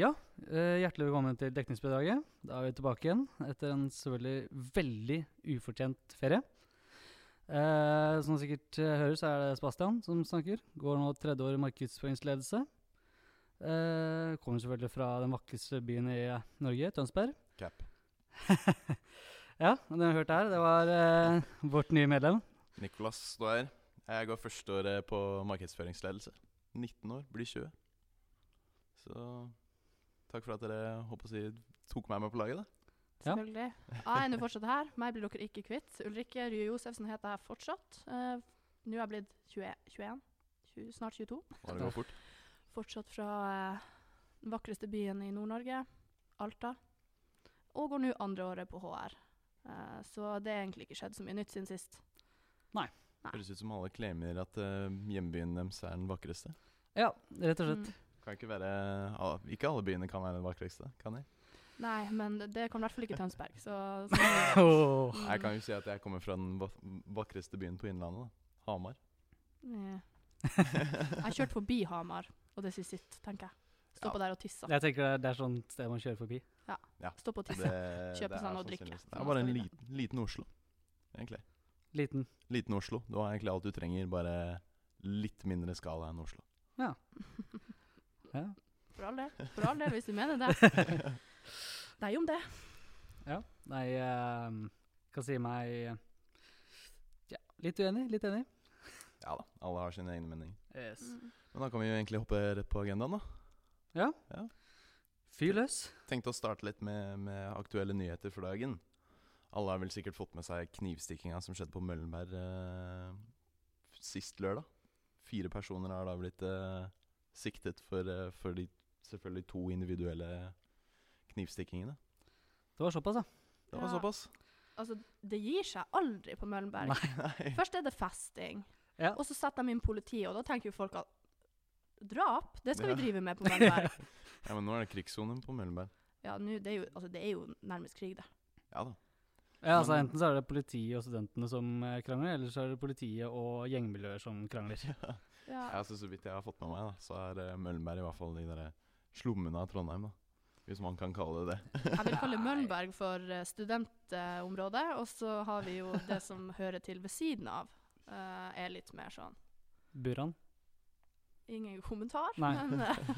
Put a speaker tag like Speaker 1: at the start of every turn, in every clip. Speaker 1: Eh, hjertelig velkommen til Dekningsbidraget. Da er vi tilbake igjen etter en selvfølgelig veldig ufortjent ferie. Eh, som du sikkert eh, hører, så er det Sebastian som snakker. Går nå tredje år i markedsføringsledelse. Eh, kommer selvfølgelig fra den vakreste byen i eh, Norge, Tønsberg.
Speaker 2: Cap.
Speaker 1: Ja, den har hørt her. Det var eh, vårt nye medlem.
Speaker 2: Nicolas står her. Jeg går førsteåret på markedsføringsledelse. 19 år, blir 20. Så takk for at dere håper å si, tok meg med på laget, da.
Speaker 1: Ja.
Speaker 3: Selvfølgelig. Jeg er nå fortsatt her. Meg blir dere ikke kvitt. Ulrikke Rye Josefsen heter jeg fortsatt. Eh, nå er jeg blitt 20, 21, 20, snart 22.
Speaker 2: Nå har det gått fort.
Speaker 3: Fortsatt fra eh, den vakreste byen i Nord-Norge, Alta. Og går nå andre året på HR. Eh, så det har egentlig ikke skjedd så mye nytt siden sist.
Speaker 2: Høres ut som alle klemmer at eh, hjembyen deres er den vakreste.
Speaker 1: Ja, rett og slett.
Speaker 3: Mm.
Speaker 2: Kan ikke være al- Ikke alle byene kan være den vakreste, kan jeg?
Speaker 3: Nei, men det kan i hvert fall ikke Tønsberg. Så, så
Speaker 1: Åh.
Speaker 3: Mm.
Speaker 2: Jeg kan jo si at jeg kommer fra den va- vakreste byen på Innlandet, da. Hamar.
Speaker 3: Eh. Jeg kjørte forbi Hamar, og det sier sitt, tenker jeg. Stoppa der og tissa.
Speaker 1: Jeg tenker det er, det er sånn sted man kjører forbi.
Speaker 3: Stoppa og
Speaker 2: Det,
Speaker 3: tissa. Kjøpe
Speaker 2: det er
Speaker 3: seg noe å drikke,
Speaker 2: sannsynligvis-
Speaker 3: for
Speaker 2: Det
Speaker 3: nå
Speaker 2: er bare
Speaker 3: skal
Speaker 2: en
Speaker 3: vi
Speaker 2: liten, liten Oslo, egentlig.
Speaker 1: Liten.
Speaker 2: Liten Oslo. Du har egentlig alt du trenger, bare litt mindre skala enn Oslo.
Speaker 1: Ja.
Speaker 3: For all del, for all del, hvis du mener det. Deg om det.
Speaker 1: Ja. Nei, jeg kan si meg ja, litt uenig, litt enig.
Speaker 2: Ja da, alle har sine egne meninger.
Speaker 1: Yes.
Speaker 3: Mm.
Speaker 2: Men da kan vi jo egentlig hoppe rett på agendaen, da.
Speaker 1: Fyr løs.
Speaker 2: Tenkte å starte litt med, med aktuelle nyheter for dagen. Alle har vel sikkert fått med seg knivstikkinga som skjedde på Møllenberg eh, sist lørdag. Fire personer har da blitt eh, siktet for, eh, for de selvfølgelig to individuelle knivstikkingene.
Speaker 1: Det var såpass, ja.
Speaker 2: Det var
Speaker 3: Ja.
Speaker 2: såpass.
Speaker 3: Altså, det gir seg aldri på Møllenberg.
Speaker 2: Nei.
Speaker 3: Først er det festing,
Speaker 1: Ja.
Speaker 3: og så setter de inn politiet, og da tenker jo folk at drap, det skal
Speaker 2: Ja.
Speaker 3: vi drive med på Møllenberg.
Speaker 2: Ja, men nå er det krigssonen på Møllenberg.
Speaker 3: Ja, nå, det, er jo, altså, det er jo nærmest krig, det.
Speaker 2: Ja da.
Speaker 1: ja altså,
Speaker 2: Men-
Speaker 1: enten så er det politiet og studentene som eh, krangler, eller så er det politiet og gjengmiljøer som krangler.
Speaker 3: Ja.
Speaker 2: Ja, altså, så vidt jeg har fått med meg, da, så er eh, Møllenberg i hvert fall de der eh, slummene av Trondheim. da. Hvis man kan kalle det det.
Speaker 3: Jeg vil kalle Møllenberg for eh, studentområdet, og så har vi jo det som hører til ved siden av, eh, er litt mer sånn
Speaker 1: Buran.
Speaker 3: Ingen kommentar,
Speaker 1: Nei.
Speaker 3: men eh,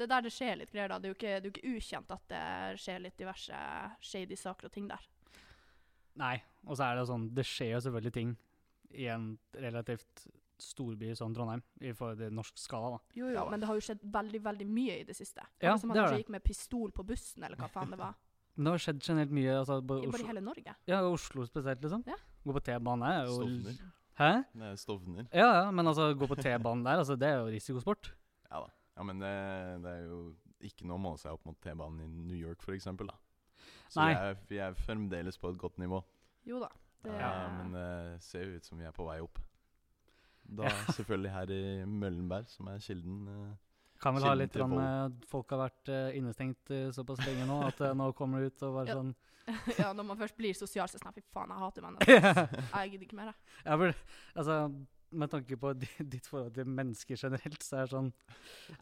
Speaker 3: det er der det skjer litt greier. da. Det er jo ikke, det er jo ikke ukjent at det skjer litt diverse shady saker og ting der.
Speaker 1: Nei. Og så er det jo sånn, det skjer jo selvfølgelig ting i en relativt storby som Trondheim, i forhold til norsk skala, da.
Speaker 3: Jo, jo,
Speaker 2: Ja da.
Speaker 3: Men det har jo skjedd veldig veldig mye i det siste.
Speaker 1: Ja,
Speaker 3: som
Speaker 1: det
Speaker 3: han
Speaker 1: har det.
Speaker 3: kanskje gikk med pistol på bussen, eller hva faen det var.
Speaker 1: Men det har skjedd generelt mye. altså
Speaker 3: I
Speaker 1: både
Speaker 3: bare i
Speaker 1: Oslo,
Speaker 3: hele Norge.
Speaker 1: ja, Oslo spesielt, liksom.
Speaker 3: Ja.
Speaker 1: Gå på T-banen er jo
Speaker 2: Stovner.
Speaker 1: Hæ?
Speaker 2: Det er Stovner.
Speaker 1: Ja, ja, men altså, gå på T-banen der, altså, det er jo risikosport.
Speaker 2: Ja da. Ja, men det, det er jo ikke noe å måle seg opp mot T-banen i New York, for eksempel, da. Så
Speaker 1: Nei.
Speaker 2: vi er, vi er fremdeles på et godt nivå.
Speaker 3: Jo da. Det,
Speaker 2: Eh, men det ser jo ut som vi er på vei opp. Da
Speaker 1: Ja.
Speaker 2: selvfølgelig her i Møllenberg, som er kilden. eh,
Speaker 1: Kan vel ha
Speaker 2: Kilden
Speaker 1: litt
Speaker 2: til
Speaker 1: grann, eh, Folk har vært eh, innestengt eh, såpass lenge nå at eh, nå kommer det ut og bare
Speaker 3: Ja.
Speaker 1: sånn
Speaker 3: ja, når man først blir sosial, så er det sånn Fy faen, jeg hater mennesker.
Speaker 1: ja,
Speaker 3: Jeg gidder ikke mer, jeg.
Speaker 1: sånn. for, altså, Med tanke på di- ditt forhold til mennesker generelt, så er det sånn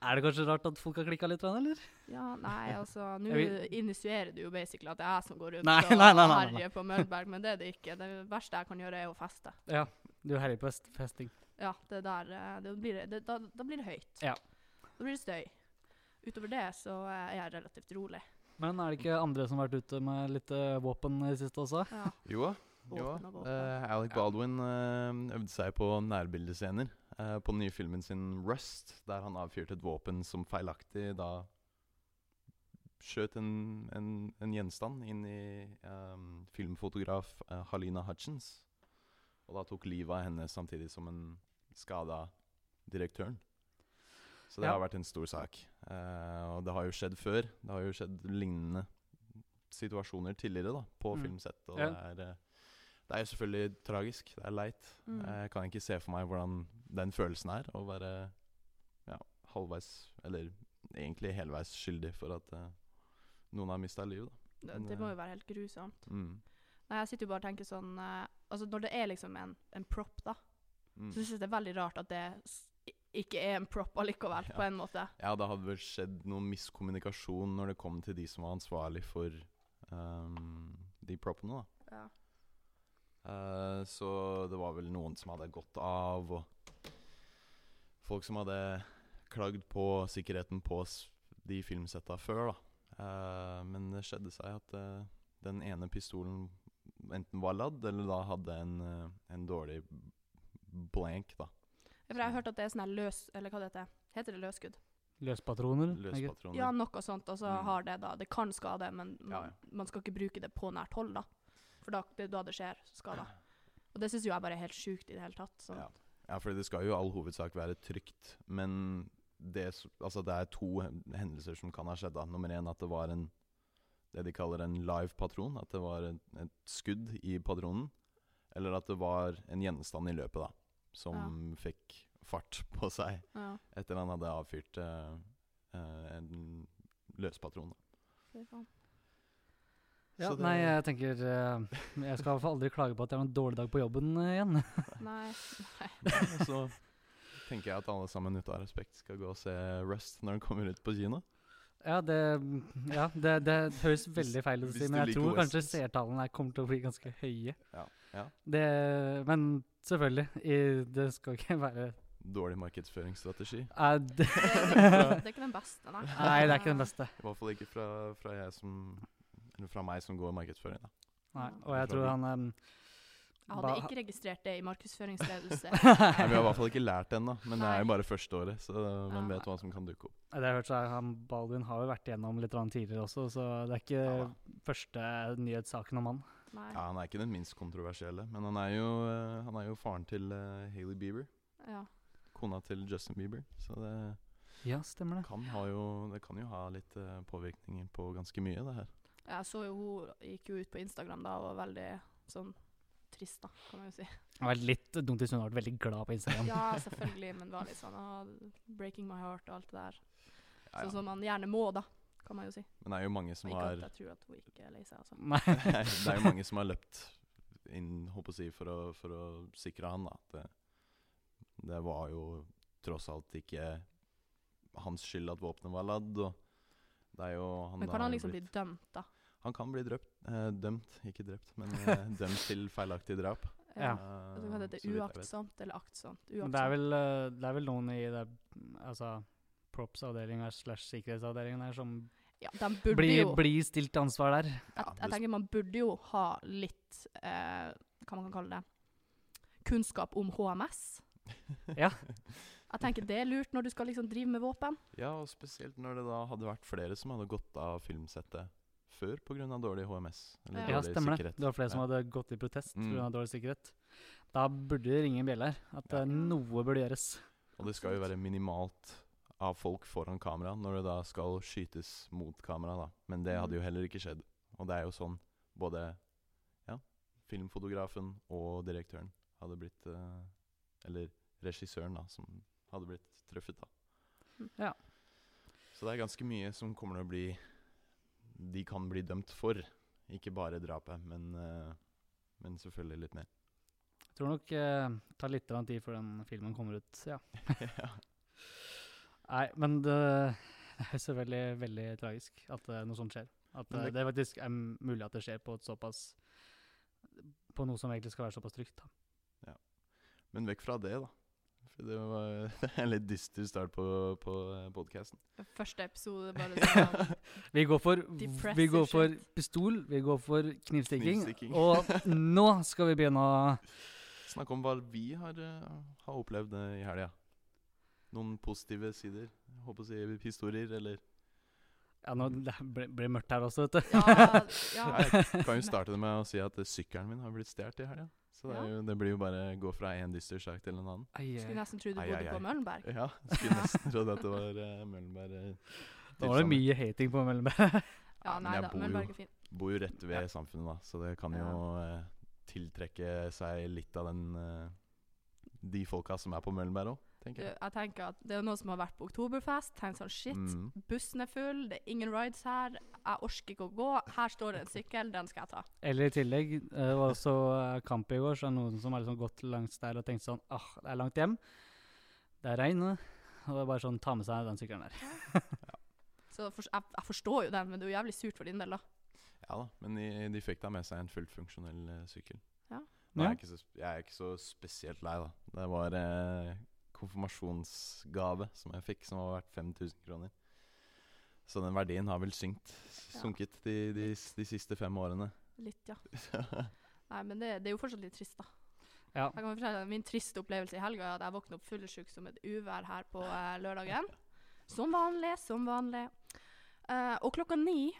Speaker 1: Er det kanskje rart at folk har klikka litt, grann, eller?
Speaker 3: Ja, nei, altså Nå
Speaker 1: Jeg
Speaker 3: initierer du jo basically at det er jeg som går rundt
Speaker 1: Nei,
Speaker 3: og
Speaker 1: nei, nei, nei, nei.
Speaker 3: herjer på Møllenberg, men det er det ikke. Det verste jeg kan gjøre, er å feste.
Speaker 1: Ja. Du herjer på fest- festing.
Speaker 3: Ja, det der, eh, det blir, det, da, da blir det høyt.
Speaker 1: Ja.
Speaker 3: Da blir det støy. Utover det så eh, er jeg relativt rolig.
Speaker 1: Men er det ikke andre som har vært ute med litt eh, våpen i det siste også?
Speaker 3: Ja.
Speaker 2: Jo, jo.
Speaker 3: Våpen og våpen.
Speaker 2: Eh, Alec Baldwin eh, øvde seg på nærbildescener eh, på den nye filmen sin Rust, der han avfyrte et våpen som feilaktig da skjøt en, en, en gjenstand inn i eh, filmfotograf eh, Halina Hutchins. Og da tok livet av henne samtidig som en skada direktøren. Så det
Speaker 1: Ja.
Speaker 2: har vært en stor sak. Eh, og det har jo skjedd før. Det har jo skjedd lignende situasjoner tidligere da, på
Speaker 1: Mm.
Speaker 2: filmsett. Og
Speaker 1: Ja.
Speaker 2: det er... eh, det er jo selvfølgelig tragisk. Det er leit.
Speaker 3: Mm.
Speaker 2: Jeg kan ikke se for meg hvordan den følelsen er å være ja, halvveis, eller egentlig helveis skyldig for at eh, noen har mista livet. da.
Speaker 3: det, det
Speaker 1: eh,
Speaker 3: må jo være helt grusomt.
Speaker 2: Mm.
Speaker 3: Nei, jeg sitter jo bare og tenker sånn eh, Altså, når det er liksom en, en prop, da,
Speaker 2: Mm.
Speaker 3: så syns jeg det er veldig rart at det s- i- ikke er en prop allikevel,
Speaker 2: Ja.
Speaker 3: på en måte.
Speaker 2: Ja, det hadde vel skjedd noe miskommunikasjon når det kom til de som var ansvarlig for ehm, de propene, da.
Speaker 3: Ja.
Speaker 2: Eh, så det var vel noen som hadde gått av, og folk som hadde klagd på sikkerheten på s- de filmsetta før, da. Eh, men det skjedde seg at eh, den ene pistolen enten var ladd, eller da hadde en, eh, en dårlig blank, da.
Speaker 3: For jeg har hørt at det er sånn her løs Eller hva det heter Heter det løsskudd?
Speaker 1: Løspatroner. ikke?
Speaker 2: Løspatroner.
Speaker 3: Ja, noe sånt, og så
Speaker 2: Mm.
Speaker 3: har det da Det kan skade, men man,
Speaker 2: Ja, ja.
Speaker 3: man skal ikke bruke det på nært hold, da. For da, det er da det skjer skader. Og det syns jo jeg bare er helt sjukt i det hele tatt. Sånn.
Speaker 2: Ja. Ja, for det skal jo i all hovedsak være trygt, men det, s- altså det er to hen- hendelser som kan ha skjedd. Da. Nummer én at det var en det de kaller en live patron, at det var et, et skudd i patronen. Eller at det var en gjenstand i løpet, da, som fikk fart på seg
Speaker 3: Ja.
Speaker 2: etter han hadde avfyrt eh, eh, en løspatron. da.
Speaker 3: fy faen.
Speaker 1: Ja,
Speaker 2: Så det-
Speaker 1: nei, jeg tenker eh, Jeg skal i hvert fall aldri klage på at jeg har en dårlig dag på jobben eh, igjen.
Speaker 3: Nei.
Speaker 2: Og Så tenker jeg at alle sammen ut av respekt skal gå og se Rust når den kommer ut på kino.
Speaker 1: Ja, det, ja, det, det høres veldig feil ut å
Speaker 2: hvis
Speaker 1: si,
Speaker 2: du
Speaker 1: men jeg
Speaker 2: liker
Speaker 1: tror kanskje
Speaker 2: westerns.
Speaker 1: seertallene her kommer til å bli ganske høye.
Speaker 2: Ja, ja.
Speaker 1: Det, men selvfølgelig, i, det skal ikke være
Speaker 2: Dårlig markedsføringsstrategi.
Speaker 1: Nei, det,
Speaker 3: Det, det, det er ikke den beste, nei.
Speaker 1: nei, det er ikke den beste.
Speaker 2: I hvert fall ikke fra, fra, jeg som, eller fra meg som går markedsføring. Da.
Speaker 1: Nei, og jeg tror han em,
Speaker 3: Jeg hadde
Speaker 1: ba-
Speaker 3: ikke registrert det i markedsføringsledelse.
Speaker 2: Nei, vi har i hvert fall ikke lært det ennå, men det er jo
Speaker 3: Nei.
Speaker 2: bare første året. Så man
Speaker 3: Ja.
Speaker 2: vet hva som kan dukke opp.
Speaker 1: Det jeg har hørt, så er han Baldwin har jo vært igjennom litt grann tidligere også, så det er ikke
Speaker 2: Ja da.
Speaker 1: første nyhetssaken om han.
Speaker 3: Nei.
Speaker 2: Ja, Han er ikke den minst kontroversielle, men han er jo, eh, han er jo faren til eh, Hailey Bieber.
Speaker 3: Ja.
Speaker 2: Kona til Justin Bieber. Så det
Speaker 1: Ja, stemmer det.
Speaker 2: kan, ha jo, det kan jo ha litt eh, påvirkninger på ganske mye, det her.
Speaker 3: Jeg så jo hun gikk jo ut på Instagram da og var veldig sånn trist, da, kan man jo si.
Speaker 1: Det var litt dumt hvis hun har vært veldig glad på Instagram.
Speaker 3: Ja, selvfølgelig, men var litt sånn ah, 'breaking my heart' og alt det der.
Speaker 2: Ja,
Speaker 3: Sånn
Speaker 2: ja.
Speaker 3: som man gjerne må, da, kan man jo si.
Speaker 2: Men det er jo mange som
Speaker 3: Ikke
Speaker 2: har
Speaker 3: at jeg tror at hun ikke er lei seg, altså.
Speaker 1: Nei.
Speaker 2: det er jo mange som har løpt inn håper jeg å si, for, å, for å sikre han. Da. At det, det var jo tross alt ikke hans skyld at våpenet var ladd. Og det er jo, han
Speaker 3: Men
Speaker 2: da
Speaker 3: kan
Speaker 2: har
Speaker 3: han
Speaker 2: jo
Speaker 3: liksom bli
Speaker 2: blitt,
Speaker 3: dømt, da?
Speaker 2: Han kan bli drøpt, eh, dømt, ikke drept, men eh, dømt til feilaktig drap.
Speaker 1: Ja.
Speaker 3: Jeg tror
Speaker 2: Eh,
Speaker 3: kanskje det
Speaker 2: så vidt
Speaker 3: er
Speaker 2: jeg
Speaker 3: uaktsomt eller aktsomt.
Speaker 1: Men det er
Speaker 3: Uaktsomt.
Speaker 1: vel, eh, det er vel noen i det, altså, props-avdelinga slash sikkerhetsavdelinga der som
Speaker 3: Ja, de burde
Speaker 1: blir,
Speaker 3: jo
Speaker 1: blir stilt til ansvar der.
Speaker 2: Ja,
Speaker 3: jeg,
Speaker 2: det-
Speaker 3: jeg tenker man burde jo ha litt eh, Hva man kan kalle det Kunnskap om HMS.
Speaker 1: Ja.
Speaker 3: Jeg tenker det er lurt når du skal liksom drive med våpen.
Speaker 2: vet. Ja, og spesielt når det da hadde vært flere som hadde gått av filmsettet før pga. dårlig HMS. Eller
Speaker 1: Ja,
Speaker 2: dårlig
Speaker 1: stemmer det.
Speaker 2: sikkerhet.
Speaker 1: Det var flere som
Speaker 2: Ja.
Speaker 1: hadde gått i protest
Speaker 2: Mm.
Speaker 1: pga. dårlig sikkerhet. Da burde det ringe en bjelle her. At
Speaker 2: Ja.
Speaker 1: eh, noe burde gjøres.
Speaker 2: Og det skal jo
Speaker 3: Absolutt.
Speaker 2: være minimalt av folk foran kamera når det da skal skytes mot kamera, da. Men det
Speaker 3: Mm.
Speaker 2: hadde jo heller ikke skjedd. Og det er jo sånn både ja, filmfotografen og direktøren hadde blitt eh, Eller regissøren, da, som hadde blitt truffet, da.
Speaker 3: Mm.
Speaker 1: Ja.
Speaker 2: Så det er ganske mye som kommer til å bli De kan bli dømt for. Ikke bare drapet, men, eh, men selvfølgelig litt mer.
Speaker 1: Jeg tror nok eh, det tar litt grann tid før den filmen kommer ut. Ja.
Speaker 2: ja.
Speaker 1: Nei, men det det er selvfølgelig veldig tragisk at eh, noe sånt skjer. At
Speaker 2: Men
Speaker 1: eh,
Speaker 2: det-
Speaker 1: det faktisk er mulig at det skjer på et såpass På noe som egentlig skal være såpass trygt. Da.
Speaker 2: Men vekk fra det, da. For det var det er en litt dyster start på, på eh, podkasten.
Speaker 3: Første episode bare sånn
Speaker 1: Vi går for,
Speaker 3: Depressive
Speaker 1: vi går for
Speaker 3: shit.
Speaker 1: pistol, vi går for knivstikking.
Speaker 2: Knivstikking.
Speaker 1: Og nå skal vi begynne å
Speaker 2: Snakk om hva vi har, eh, har opplevd eh, i helga. Noen positive sider? Jeg Håper å si historier, eller
Speaker 1: Ja, nå det ble- blir mørkt her også, vet du.
Speaker 3: Ja, ja.
Speaker 2: Nei, Jeg kan jo starte det med å si at eh, sykkelen min har blitt stjålet i helga. Så det, er
Speaker 3: Ja.
Speaker 2: jo, det blir jo bare å gå fra en dyster sak til en annen.
Speaker 1: Ai, ai.
Speaker 3: Skulle nesten tro du
Speaker 2: Ai, ai,
Speaker 3: bodde
Speaker 2: ai.
Speaker 3: på Møllenberg.
Speaker 2: Ja, skulle nesten trodd at det var uh, Møllenberg.
Speaker 1: Nå
Speaker 2: eh,
Speaker 1: var det
Speaker 2: tilstander.
Speaker 1: mye hating på Mellomberg.
Speaker 3: Ja,
Speaker 2: men
Speaker 3: nei
Speaker 2: jeg
Speaker 3: da,
Speaker 2: bor jo-
Speaker 3: Møllenberg er fin.
Speaker 2: Bor jo rett ved samfunnet, da, så det kan jo eh, tiltrekke seg litt av den eh, De folka som er på Møllenberg òg,
Speaker 3: Du,
Speaker 2: tenker jeg.
Speaker 3: jeg tenker at det er noen som har vært på Oktoberfest, tenkt sånn shit,
Speaker 2: Mm.
Speaker 3: bussen er full, det er ingen rides her, jeg orker ikke å gå, her står det en sykkel, den skal jeg ta.
Speaker 1: Eller i tillegg, eh, det var også eh, kamp i går, så er det noen som har liksom gått langs der og tenkt sånn Ah, det er langt hjem. Det er regn. eh, Og det er bare sånn, ta med seg den sykkelen der.
Speaker 3: Så for, jeg, jeg forstår jo den, men det er jo jævlig surt for din del, da.
Speaker 2: Ja da, men de, de fikk da med seg en fullt funksjonell eh, sykkel.
Speaker 3: Ja.
Speaker 2: Nå
Speaker 1: Ja.
Speaker 2: er jeg, ikke så, jeg er ikke så spesielt lei, da. Det var eh, konfirmasjonsgave som jeg fikk, som var verdt 5000 kroner. Så den verdien har vel synkt, s-
Speaker 3: Ja.
Speaker 2: sunket de, de, s- de siste fem årene.
Speaker 3: Litt, ja. Nei, men det, det er jo fortsatt litt trist, da.
Speaker 1: Ja.
Speaker 3: Jeg kan fortelle deg Min triste opplevelse i helga er at jeg våkna opp fullsjuk som et uvær her på eh, lørdagen. Som vanlig, som vanlig. Eh, og klokka ni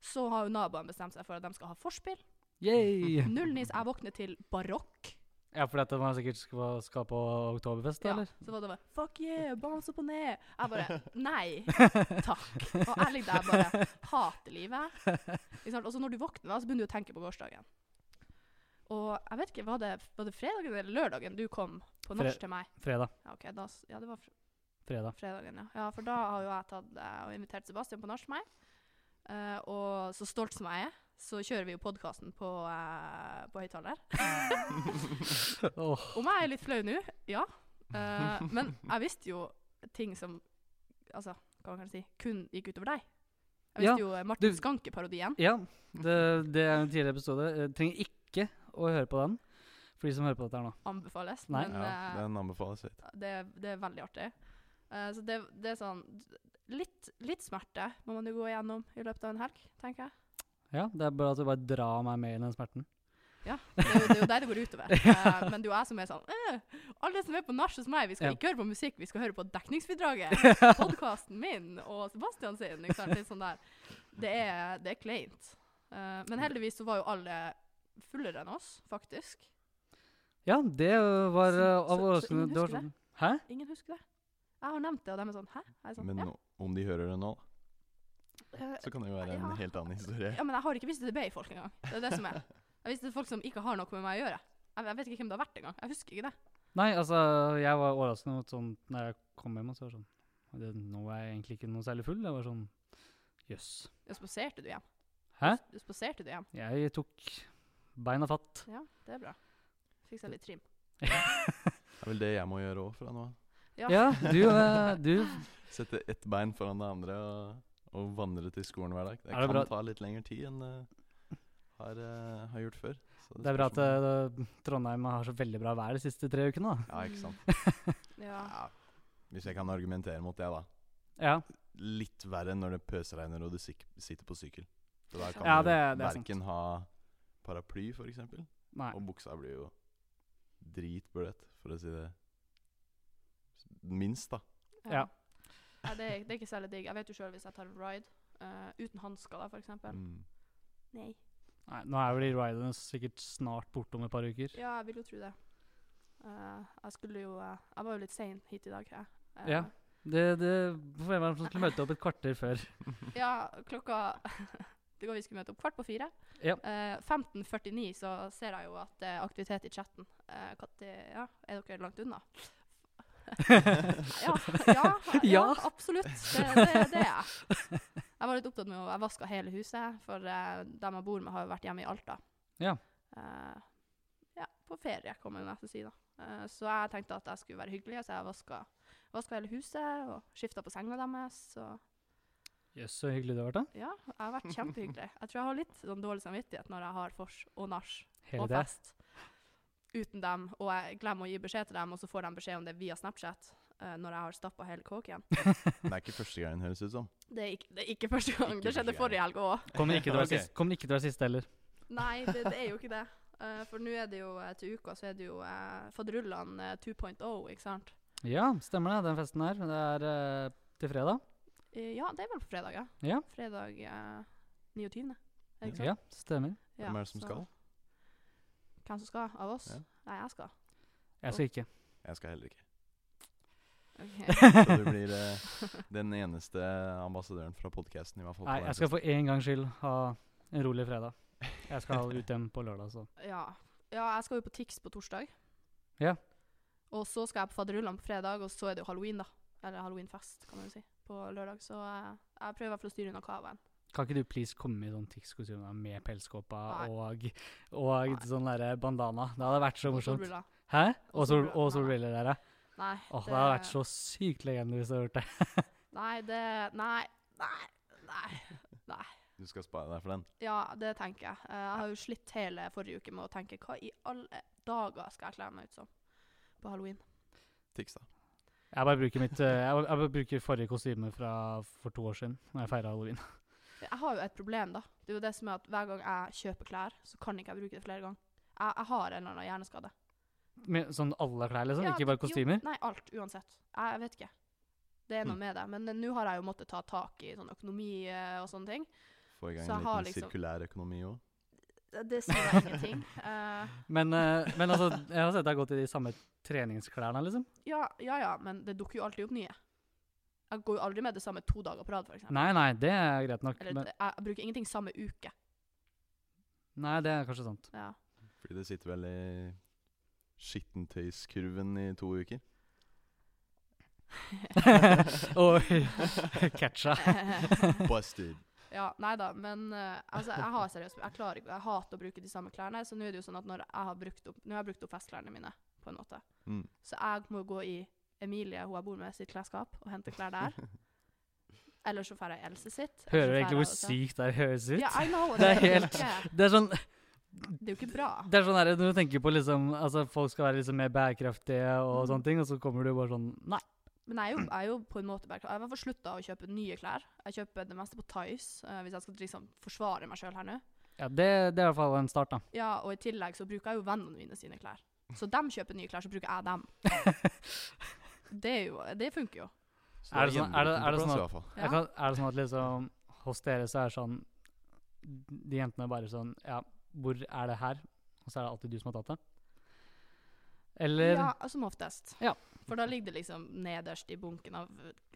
Speaker 3: så har jo naboene bestemt seg for at de skal ha forspill.
Speaker 1: Yay!
Speaker 3: Null nis. Jeg våkner til barokk.
Speaker 1: Ja, fordi at man sikkert skal, skal på Oktoberfest, da,
Speaker 3: Ja,
Speaker 1: eller?
Speaker 3: så var det bare Fuck yeah, bounce opp og ned. Jeg bare Nei, takk. Og jeg ligger der bare Hater livet. Ikke sant? Og så når du våkner, da, så begynner du å tenke på gårsdagen. Og jeg vet ikke, var det, var det fredagen eller lørdagen du kom på
Speaker 1: Fre-
Speaker 3: norsk til meg?
Speaker 1: Fredag.
Speaker 3: Ja, ok, da, s- ja, det var fr-
Speaker 1: Fredag.
Speaker 3: fredagen, ja. ja. For da har jo jeg tatt eh, og invitert Sebastian på norsk til meg. Eh, og så stolt som jeg er, så kjører vi jo podkasten på, uh, på høyttaler.
Speaker 1: Åh,
Speaker 3: Om jeg er litt flau nå, ja. Eh, men jeg visste jo ting som Altså, hva kan jeg si? Kun gikk utover deg. Jeg
Speaker 1: Ja,
Speaker 3: visste jo eh, Martin
Speaker 1: du-
Speaker 3: Skanke-parodien.
Speaker 1: Ja, det, det er en tidligere episode. Jeg trenger ikke å høre på den, for de som hører på dette her nå.
Speaker 3: Anbefales.
Speaker 1: Nei.
Speaker 3: Men
Speaker 2: ja,
Speaker 3: eh,
Speaker 2: den anbefales høyt.
Speaker 3: det, det er veldig artig. Eh, så det, det er sånn litt, litt smerte må man jo gå igjennom i løpet av en helg, tenker jeg.
Speaker 1: Ja, det er bare at du bare drar meg med i den smerten.
Speaker 3: Det er jo, det er jo der det går utover. Eh, men det er jo jeg som er sånn «Øh, Alle som er på nach hos meg, vi
Speaker 1: Ja.
Speaker 3: skal ikke høre på musikk, vi skal høre på dekningsbidraget. Podkasten min og Sebastian sin. Ikke sant? Litt sånn der. Det er, det er kleint. Eh, men heldigvis så var jo alle fullere enn oss, faktisk.
Speaker 1: Ja, det øh, var øh,
Speaker 3: Så- så-
Speaker 1: av
Speaker 3: så
Speaker 1: overraskende
Speaker 3: ingen
Speaker 1: det var
Speaker 3: husker det?
Speaker 1: sånn- Hæ?
Speaker 3: Ingen husker det. Jeg har nevnt det, og de er sånn Hæ? Jeg er sånn,
Speaker 2: Men
Speaker 3: ja.
Speaker 2: o- om de hører det nå,
Speaker 3: eh,
Speaker 2: så kan det jo være en
Speaker 3: ja.
Speaker 2: helt annen historie.
Speaker 3: ja, men jeg har ikke visst det til folk engang. Det er det som er. Jeg visste til folk som ikke har noe med meg å gjøre. Jeg, jeg vet ikke hvem det har vært engang. Jeg husker ikke det.
Speaker 1: Nei, altså, jeg var overraskende over sånn, når jeg kom hjem, og så var det sånn, det, nå er jeg egentlig ikke noe særlig full. Jeg var sånn, jøss.
Speaker 3: Ja, Spaserte du hjem?
Speaker 1: Hæ?
Speaker 3: Du Spaserte du hjem?
Speaker 1: Jeg tok beina fatt.
Speaker 3: Ja, det er bra. Fikk seg litt trim.
Speaker 2: Det er vel det jeg må gjøre òg fra nå av.
Speaker 3: Ja.
Speaker 1: Ja, du, øh, du,
Speaker 2: Sette ett bein foran det andre og, og vandre til skolen hver dag. Det,
Speaker 1: Er det
Speaker 2: kan
Speaker 1: bra-
Speaker 2: ta litt lengre tid enn uh, har, eh, har gjort før. Så
Speaker 1: det er bra at
Speaker 2: spørs om-
Speaker 1: øh, Trondheim har så veldig bra vær de siste tre ukene, da.
Speaker 2: Ja, ikke sant.
Speaker 3: Ja.
Speaker 2: Ja. Hvis jeg kan argumentere mot det, da.
Speaker 1: Ja,
Speaker 2: Litt verre når det pøsregner og du sik sitter på sykkel. Så da kan
Speaker 1: Ja,
Speaker 2: du
Speaker 1: det- det er sant.
Speaker 2: verken ha paraply, for eksempel,
Speaker 1: nei.
Speaker 2: og buksa blir jo dritbløt, for å si det minst, da.
Speaker 1: Ja.
Speaker 3: Nei, det, er, det er ikke særlig digg. Jeg vet jo sjøl hvis jeg tar en ride eh, uten hansker, da, for eksempel.
Speaker 2: Mm.
Speaker 3: Nei.
Speaker 1: nei. Nå er vel de riderne sikkert snart borte om et par uker.
Speaker 3: Ja, jeg vil jo tro det. Eh, jeg skulle jo eh, Jeg var jo litt sein hit i dag, jeg. Eh,
Speaker 1: Ja. Det, det, hvorfor hvem var det som skulle møte opp et kvarter før?
Speaker 3: ja, klokka Det går vi skulle møte opp kvart på fire.
Speaker 1: Ja.
Speaker 3: Eh, 15.49 så ser jeg jo at det er aktivitet i chatten. Eh, hva til- ja, er dere langt unna? ja, ja, ja,
Speaker 1: Ja.
Speaker 3: absolutt. Det, det, det er jeg. Jeg var litt opptatt med å Jeg vaska hele huset, for eh, dem jeg bor med, har jo vært hjemme i Alta.
Speaker 1: Ja.
Speaker 3: Eh, ja, på ferie, kan man jo nesten si. da. Eh, så jeg tenkte at jeg skulle være hyggelig, så jeg vaska, vaska hele huset og skifta på senga deres. Så
Speaker 1: Jøss, så hyggelig du har vært, da.
Speaker 3: ja, jeg har vært kjempehyggelig. Jeg tror jeg har litt sånn dårlig samvittighet når jeg har vors og nach
Speaker 1: Hele
Speaker 3: og
Speaker 1: det.
Speaker 3: fest uten dem, og jeg glemmer å gi beskjed til dem, og så får de beskjed om det via Snapchat eh, når jeg har stappa hele kåken.
Speaker 2: Det er ikke første gangen, høres det ut som.
Speaker 3: Det er ikke, det er ikke første gang.
Speaker 2: Ikke
Speaker 3: det skjedde
Speaker 2: første gang.
Speaker 3: forrige helg òg.
Speaker 1: Kommer ikke til å være
Speaker 2: Ok.
Speaker 1: sist- kommer ikke til å være siste heller.
Speaker 3: Nei, det, det er jo ikke det. Eh, for nå er det jo eh, til uka så er det jo uh, fadrullene eh, 2.0, ikke sant?
Speaker 1: Ja, stemmer det. Den festen her. Det er eh, til fredag.
Speaker 3: Eh, ja, det er vel på fredag, ja.
Speaker 1: Ja.
Speaker 3: Fredag eh, 29. Er det ikke sant?
Speaker 1: Ja, stemmer.
Speaker 3: Ja,
Speaker 2: Hvem er det som
Speaker 3: så-
Speaker 2: skal?
Speaker 3: Hvem som skal? Av oss?
Speaker 2: Ja.
Speaker 3: Nei, jeg skal.
Speaker 1: Jeg skal ikke.
Speaker 2: Jeg skal heller ikke.
Speaker 3: Ok.
Speaker 2: Så du blir eh, den eneste ambassadøren fra podkasten, i hvert fall. på
Speaker 1: Nei,
Speaker 2: den
Speaker 1: jeg skal
Speaker 2: festen.
Speaker 1: for en gangs skyld ha en rolig fredag. Jeg skal ut hjem på lørdag, så.
Speaker 3: ja. ja, jeg skal jo på TIX på torsdag.
Speaker 1: Ja.
Speaker 3: Og så skal jeg på fadderullene på fredag, og så er det jo halloween, da. Eller halloweenfest, kan man jo si, på lørdag. Så eh, jeg prøver i hvert fall å styre unna kavaen.
Speaker 1: Kan ikke du please komme i sånn TIX-kostyme med pelskåpa
Speaker 3: Nei.
Speaker 1: og, og sånn derre bandana? Det hadde vært så
Speaker 3: Og
Speaker 1: morsomt.
Speaker 3: solbriller.
Speaker 1: Hæ?
Speaker 3: Og
Speaker 1: Og, sol og
Speaker 3: solbriller. Nei, nei.
Speaker 1: solbriller der, ja.
Speaker 3: Nei.
Speaker 1: Åh, det hadde vært så sykt legende hvis jeg hadde gjort det.
Speaker 3: Nei, det Nei. Nei. Nei.
Speaker 2: Du skal spare deg for den.
Speaker 3: Ja, det tenker jeg. Eh, Jeg har jo slitt hele forrige uke med å tenke hva i alle dager skal jeg kle meg ut som på halloween?
Speaker 2: Tics, da.
Speaker 1: Jeg bare bruker, mitt, eh, jeg bare- jeg bare bruker forrige kostyme fra for to år siden, når jeg feira halloween.
Speaker 3: Jeg har jo et problem, da. Det er jo det som er at hver gang jeg kjøper klær, så kan ikke jeg bruke det flere ganger. Jeg, jeg har en eller annen hjerneskade.
Speaker 1: Med sånn alle klær, liksom?
Speaker 3: Ja,
Speaker 1: ikke bare
Speaker 3: jo,
Speaker 1: kostymer? Hm.
Speaker 3: nei, alt. Uansett. Jeg, jeg vet ikke. Det er noe
Speaker 2: Hmm.
Speaker 3: med det. Men eh, nå har jeg jo måttet ta tak i sånn økonomi eh, og sånne ting.
Speaker 2: Få i gang
Speaker 3: Så jeg
Speaker 2: en
Speaker 3: har
Speaker 2: liten
Speaker 3: liksom-
Speaker 2: sirkulær økonomi òg.
Speaker 3: Det, det sier jeg ingenting. Eh,
Speaker 1: Men, eh, men altså, jeg har sett deg gå i de samme treningsklærne, liksom.
Speaker 3: ja, ja, ja, men det dukker jo alltid opp nye. Jeg går jo aldri med det samme to dager på rad, for eksempel.
Speaker 1: Nei, nei, det er greit nok.
Speaker 3: Eller
Speaker 1: Men,
Speaker 3: jeg, jeg bruker ingenting samme uke.
Speaker 1: nei, det er kanskje sant.
Speaker 3: Ja.
Speaker 2: Fordi det sitter vel i skittentøyskurven i to uker.
Speaker 1: Oi, catcha.
Speaker 2: Busted.
Speaker 3: ja, nei da, men eh, altså, jeg har seriøst Jeg klarer ikke, jeg hater å bruke de samme klærne, så nå er det jo sånn at når jeg har brukt opp, nå har jeg brukt opp festklærne mine, på en måte,
Speaker 2: Mm.
Speaker 3: så jeg må gå i Emilie, hun jeg bor med, sitt klesskap og hente klær der. Eller så drar jeg i Else sitt. eller
Speaker 1: Hører du
Speaker 3: så drar
Speaker 1: egentlig
Speaker 3: jeg
Speaker 1: hvor
Speaker 3: også-
Speaker 1: sykt det høres ut?
Speaker 3: Ja, I know.
Speaker 1: Det er
Speaker 3: jo
Speaker 1: helt-
Speaker 3: ikke-
Speaker 1: Det er sånn,
Speaker 3: Det er jo ikke bra.
Speaker 1: det er sånn her, når du tenker på liksom, altså folk skal være liksom mer bærekraftige og
Speaker 3: Mm.
Speaker 1: sånne ting, og så kommer du bare sånn Nei.
Speaker 3: Men jeg er jo, jeg er jo på en måte bærekraftig. Jeg har i hvert fall slutta å kjøpe nye klær. Jeg kjøper det meste på Tice, eh, hvis jeg skal liksom forsvare meg sjøl her nå.
Speaker 1: Ja, det, det er i hvert fall en start, da.
Speaker 3: Ja, og i tillegg så bruker jeg jo vennene mine sine klær. Så dem kjøper nye klær, så bruker jeg dem. Det, er jo, det funker jo.
Speaker 2: Så
Speaker 1: Er
Speaker 2: da
Speaker 1: det sånn- er det-
Speaker 2: hjemmebroten på
Speaker 1: er det
Speaker 2: plass
Speaker 1: sånn
Speaker 2: i hvert fall.
Speaker 1: Jeg
Speaker 3: Ja.
Speaker 1: kan, er det sånn at liksom hos dere så er det sånn De jentene er bare sånn Ja, hvor er det her? Og så er det alltid du som har tatt det? Eller
Speaker 3: Ja, som oftest.
Speaker 1: Ja.
Speaker 3: For da ligger det liksom nederst i bunken av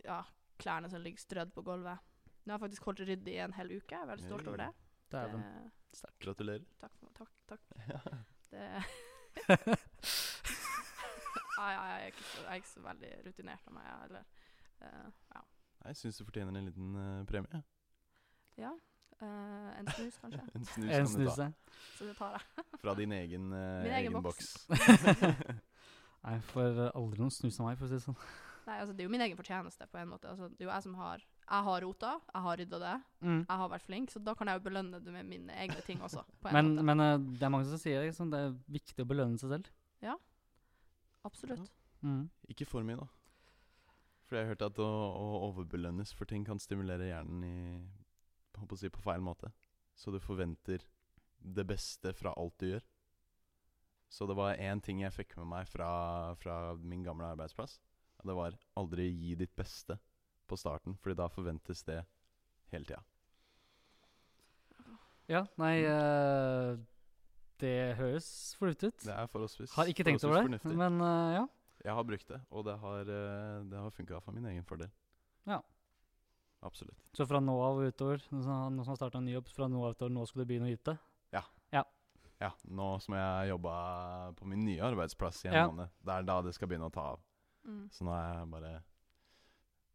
Speaker 3: ja, klærne som ligger strødd på gulvet. Nå har jeg faktisk holdt ryddig i en hel uke. Jeg er veldig stolt over det.
Speaker 1: Dæven.
Speaker 3: Det-
Speaker 2: Gratulerer.
Speaker 3: Takk, for- takk, takk. Det Nei, jeg er, ikke så, jeg er ikke så veldig rutinert av meg, jeg heller. Eh, ja.
Speaker 2: Jeg syns du fortjener en liten eh, premie.
Speaker 3: ja. eh, en snus, kanskje.
Speaker 2: En snus
Speaker 1: En
Speaker 2: kan du ta.
Speaker 1: snuse.
Speaker 3: Så det tar jeg.
Speaker 2: Fra din egen, eh,
Speaker 3: Min egen
Speaker 2: egen boks.
Speaker 3: boks.
Speaker 1: Nei, jeg får aldri noen snus av meg, for å si det sånn.
Speaker 3: Nei, altså, det er jo min egen fortjeneste, på en måte. Altså, det er jo jeg som har Jeg har rota, jeg har rydda det,
Speaker 1: Mm.
Speaker 3: jeg har vært flink, så da kan jeg jo belønne det med mine egne ting også. På en
Speaker 1: Men,
Speaker 3: måte.
Speaker 1: men eh, det er mange som sier det, liksom, det er viktig å belønne seg selv.
Speaker 3: Absolutt.
Speaker 1: Mm.
Speaker 2: Ikke for mye, da. For jeg har hørt at å, å overbelønnes for ting kan stimulere hjernen i jeg håper å si, på feil måte. Så du forventer det beste fra alt du gjør. Så det var én ting jeg fikk med meg fra, fra min gamle arbeidsplass. Og det var aldri gi ditt beste på starten, Fordi da forventes det hele tida.
Speaker 1: Ja, nei
Speaker 2: Mm.
Speaker 1: eh, Det høres fornuftig ut.
Speaker 2: Det er forholdsvis
Speaker 1: Har ikke tenkt
Speaker 2: forholdsvis
Speaker 1: over det,
Speaker 2: fornuftig.
Speaker 1: men eh, ja.
Speaker 2: Jeg har brukt det, og det har, eh, det har funka for min egen fordel.
Speaker 1: Ja.
Speaker 2: Absolutt.
Speaker 1: Så fra nå av og utover, nå som nå som har starta en ny jobb, fra nå av og utover, nå skal du begynne å yte?
Speaker 2: Ja, nå som jeg har jobba på min nye arbeidsplass i en
Speaker 1: Ja.
Speaker 2: måned, det er da det skal begynne å ta av.
Speaker 3: Mm.
Speaker 2: Så nå har jeg bare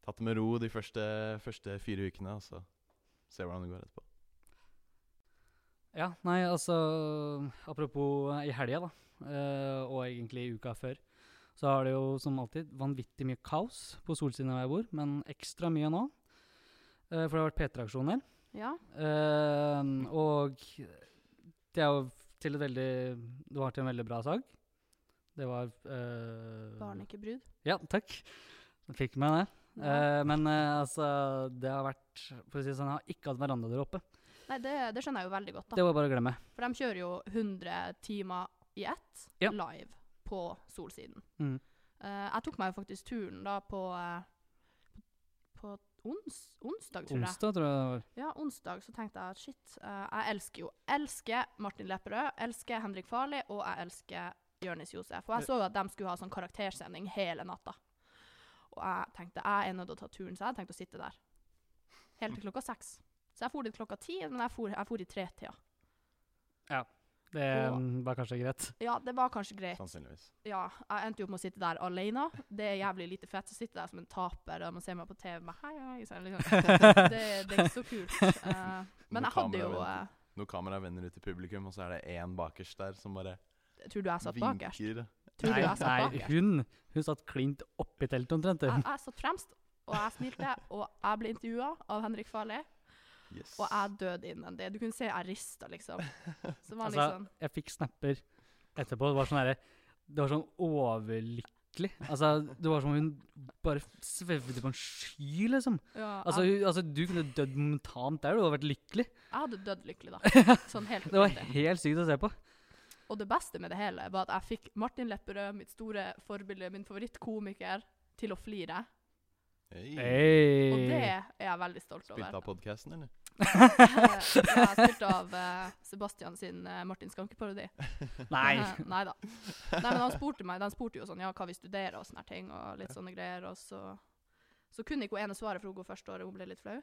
Speaker 2: tatt det med ro de første, første fire ukene, og så ser vi hvordan det går etterpå.
Speaker 1: Ja, nei, altså Apropos eh, i helga, da, eh, og egentlig uka før, så har det jo som alltid vanvittig mye kaos på solsiden av der jeg bor, men ekstra mye nå. eh, for det har vært P3-aksjoner.
Speaker 3: Ja.
Speaker 1: eh, og det er jo til et veldig Det var til en veldig bra sak. Det var eh,
Speaker 3: Barn ikke brud.
Speaker 1: Ja, takk. Fikk med det.
Speaker 3: Ja.
Speaker 1: Eh, men eh, altså, det har vært For å si det sånn, jeg har ikke hatt veranda der oppe.
Speaker 3: Nei, det, det skjønner jeg jo veldig godt, da.
Speaker 1: Det var bare å glemme.
Speaker 3: For de kjører jo 100 timer i ett
Speaker 1: Ja.
Speaker 3: live på Solsiden.
Speaker 1: Mm.
Speaker 3: Eh, jeg tok meg jo faktisk turen da på eh, På ons, onsdag, tror jeg.
Speaker 1: Onsdag, tror jeg det var.
Speaker 3: Ja, onsdag så tenkte jeg at shit, eh, jeg elsker jo Elsker Martin Lepperød, elsker Henrik Farli, og jeg elsker Jonis Josef. Og jeg så jo at de skulle ha sånn karaktersending hele natta. Og jeg tenkte jeg er nødt til å ta turen, så jeg hadde tenkt å sitte der. Helt til klokka seks. Så jeg for dit klokka ti, men jeg for, jeg for i tretida.
Speaker 1: Det
Speaker 3: Og-
Speaker 1: mm, var kanskje greit.
Speaker 3: Ja, det var kanskje greit.
Speaker 2: Sannsynligvis.
Speaker 3: Ja, jeg endte jo opp med å sitte der alene. Det er jævlig lite fett. Så sitter jeg der som en taper, og man ser meg på TV med hei, hei, så er det liksom. det, det er ikke så kult. Eh, men
Speaker 2: Nå
Speaker 3: jeg hadde jo
Speaker 2: kameravenn-
Speaker 3: eh,
Speaker 2: Når kameraet vender ut til publikum, og så er det én bakerst der som bare
Speaker 3: Tror du jeg satt Altså, bakerst?
Speaker 2: vinker.
Speaker 3: Tror du jeg satt bak?
Speaker 1: nei, hun, hun satt klint oppi teltet omtrent.
Speaker 3: Jeg,
Speaker 1: hun.
Speaker 3: jeg satt fremst, og jeg smilte, og jeg ble intervjua av Henrik Farley,
Speaker 2: Yes.
Speaker 3: og jeg døde innen det. Du kunne se jeg rista, liksom. Så det var
Speaker 1: Altså,
Speaker 3: liksom
Speaker 1: Jeg fikk snapper etterpå. Det var sånn, herre- det var sånn overlykkelig. Altså, det var som om hun bare svevde på en sky, liksom.
Speaker 3: ja,
Speaker 1: Altså,
Speaker 3: jeg,
Speaker 1: hun, altså du kunne dødd momentant der, du hadde vært lykkelig.
Speaker 3: jeg hadde dødd lykkelig, da. Sånn helt
Speaker 1: Det var
Speaker 3: oppriktig.
Speaker 1: helt sykt å se på.
Speaker 3: Og det beste med det hele var at jeg fikk Martin Lepperød, mitt store forbilde, min favorittkomiker, til å flire.
Speaker 2: Hey.
Speaker 1: Hey.
Speaker 3: Mm. Og det er jeg veldig stolt over.
Speaker 2: Spilte av podcasten, eller?
Speaker 3: Eh, Jeg har spilt av eh, Sebastian sin eh, Martin Skanke-parodi.
Speaker 1: Nei.
Speaker 3: Eh, Nei da. Nei, men han spurte meg, de spurte jo sånn, ja, hva vi studerer og sånne her ting, og litt sånne greier, og så, så kunne ikke hun ene svare, for hun går første året, hun ble litt flau.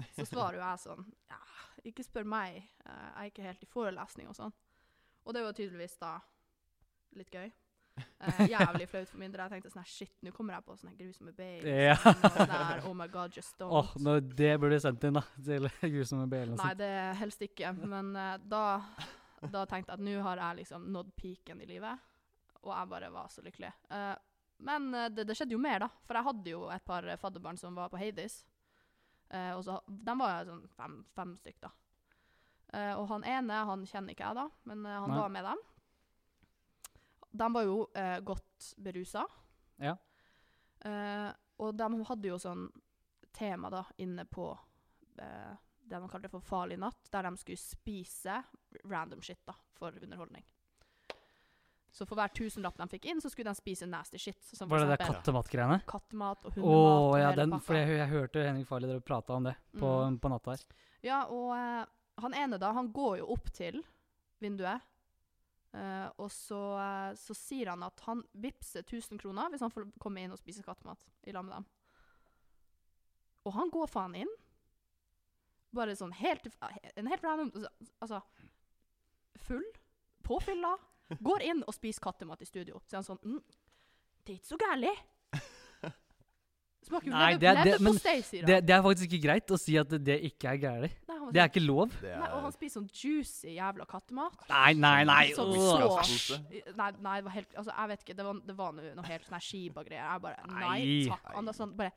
Speaker 3: Så svarer jo jeg sånn, ja, ikke spør meg, eh, jeg er ikke helt i forelesning og sånn. Og det var tydeligvis da litt gøy. Eh, jævlig flaut for min del. Jeg tenkte sånn her, shit, nå kommer jeg på sånne her grusomme babes.
Speaker 1: Ja.
Speaker 3: og sånn her, Oh my god, just don't.
Speaker 1: Åh, nå, det burde du sendt inn, da. Til grusomme BL.
Speaker 3: Nei, det helst ikke. Men eh, da, da tenkte jeg at nå har jeg liksom nådd peaken i livet. Og jeg bare var så lykkelig. Eh, men eh, det, det skjedde jo mer, da. For jeg hadde jo et par eh, fadderbarn som var på Hades. Eh, og så, de var sånn fem, fem stykk, da. Eh, og han ene han kjenner ikke jeg, da, men eh, han
Speaker 1: Nei.
Speaker 3: var med dem. De var jo eh, godt berusa.
Speaker 1: Ja.
Speaker 3: Eh, og de hadde jo sånn tema da, inne på eh, det de kalte for Farlig natt, der de skulle spise random shit da, for underholdning. Så for hver tusenlapp de fikk inn, så skulle de spise nasty shit. Som sånn for
Speaker 1: Var det der
Speaker 3: eksempel
Speaker 1: kattematgreiene?
Speaker 3: kattemat og
Speaker 1: Å
Speaker 3: hundemat. og
Speaker 1: ja,
Speaker 3: hele
Speaker 1: den,
Speaker 3: pakka. Mm.
Speaker 1: for jeg, jeg hørte Henrik Farley dere prata om det på, på natta her.
Speaker 3: Ja, og eh, han ene da, han går jo opp til vinduet, eh, og så, eh, så sier han at han vippser 1000 kroner hvis han får komme inn og spise kattemat i lag med dem. Og han går faen inn. Bare sånn helt, en helt random, altså, full, påfylla, går inn og spiser kattemat i studio. Så er han sånn, mm, det er ikke så gærlig. Smaker jo
Speaker 1: Nei,
Speaker 3: lever-
Speaker 1: det er- det- men
Speaker 3: leverpostei, sier han.
Speaker 1: Det, det er faktisk ikke greit å si at det ikke er gærent.
Speaker 3: Nei, han var
Speaker 1: Det
Speaker 3: sånn,
Speaker 1: er ikke lov.
Speaker 2: Det
Speaker 3: Nei, og
Speaker 2: er
Speaker 3: han spiser sånn juicy jævla kattemat.
Speaker 1: Nei, nei, nei.
Speaker 3: Sånn Så-
Speaker 1: åh.
Speaker 2: Plastpose.
Speaker 3: Nei, nei, det var helt Altså, jeg vet ikke. Det var, det var noe, noe helt sånn her Shiba-greier. Jeg bare Nei
Speaker 1: Nei.
Speaker 3: takk. Han da sånn bare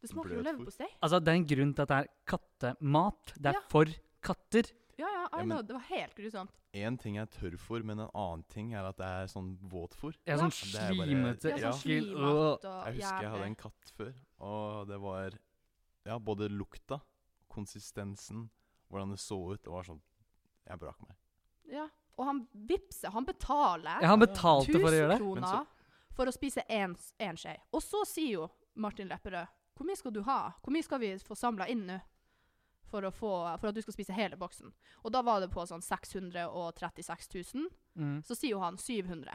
Speaker 3: Det smaker jo
Speaker 2: Bløt fot.
Speaker 3: leverpostei.
Speaker 1: Altså, det er en grunn til at det er kattemat. Det er
Speaker 3: Ja.
Speaker 1: for katter.
Speaker 3: Ja, ja, I
Speaker 2: Ja, men-
Speaker 3: know. Det var helt grusomt.
Speaker 2: En ting er tørrfôr, men en annen ting er at det er sånn våtfôr.
Speaker 1: Jeg er
Speaker 3: Ja.
Speaker 1: sånn
Speaker 2: Det er bare-
Speaker 1: slimete
Speaker 3: Ja,
Speaker 2: Ja.
Speaker 3: sånn
Speaker 1: ekkel,
Speaker 3: slimat
Speaker 1: åh.
Speaker 3: og
Speaker 2: Jeg husker jeg hadde
Speaker 3: jævlig.
Speaker 2: en katt før, og det var ja, både lukta, konsistensen, hvordan det så ut. Det var sånn Jeg brakk meg.
Speaker 3: Ja. Og han vipser. Han betaler
Speaker 1: Ja, han betalte for å gjøre det.
Speaker 2: Men
Speaker 3: kroner
Speaker 2: så-
Speaker 3: for å spise én skje. Og så sier jo Martin Lepperød Hvor mye skal du ha? Hvor mye skal vi få samla inn nå? For, å få, for at du skal spise hele boksen. Og da var det på sånn 636 000.
Speaker 1: Mm.
Speaker 3: Så sier jo han 700.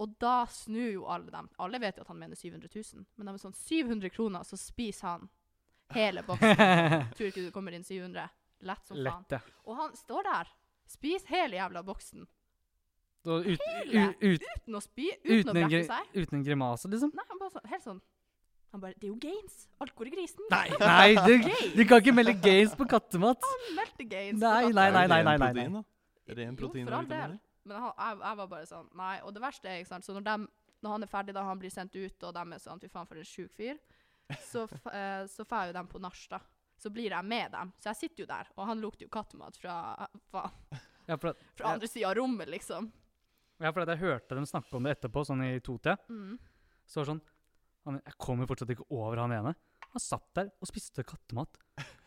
Speaker 3: Og da snur jo alle dem. Alle vet jo at han mener 700 000, men de er sånn 700 kroner, så spiser han hele boksen. Tror ikke du kommer inn 700. Lett som faen.
Speaker 1: Lett, ja.
Speaker 3: Og han står der. Spis hele jævla boksen.
Speaker 1: Og ut, u,
Speaker 3: Hele.
Speaker 1: ut,
Speaker 3: Uten å spy, uten,
Speaker 1: uten,
Speaker 3: å
Speaker 1: en
Speaker 3: brekke
Speaker 1: gri-
Speaker 3: seg.
Speaker 1: uten en grimase, liksom.
Speaker 3: Nei, han bare sånn, helt sånn. Han bare, det er jo gains. Alt går i grisen.
Speaker 1: Nei, nei, du, du kan ikke melde gays på kattemat.
Speaker 3: Han meldte gains.
Speaker 1: Nei,
Speaker 3: Og
Speaker 1: nei, nei,
Speaker 3: da-
Speaker 2: Det er
Speaker 1: nei,
Speaker 2: jo
Speaker 1: nei,
Speaker 2: ren
Speaker 1: nei,
Speaker 2: protein,
Speaker 1: nei.
Speaker 2: da. Ren
Speaker 3: Jo,
Speaker 2: protein.
Speaker 3: for all
Speaker 2: er det ikke
Speaker 3: del.
Speaker 2: det?
Speaker 3: Men han, jeg, jeg var bare sånn, nei. Og det verste er, ikke sant, så når, dem, når han er ferdig, da han blir sendt ut, og de er sånn, fy faen for en sjuk fyr, så, f- eh, så får jeg jo dem på nach, da. Så blir jeg med dem. Så jeg sitter jo der, og han lukter jo kattemat fra, fra,
Speaker 1: Ja, for, at-
Speaker 3: fra andre sida av rommet, liksom.
Speaker 1: ja, for at jeg hørte dem snakke om det etterpå, sånn i totida.
Speaker 3: Mm.
Speaker 1: Så var det sånn han, Jeg kommer fortsatt ikke over han ene. Han satt der og spiste kattemat.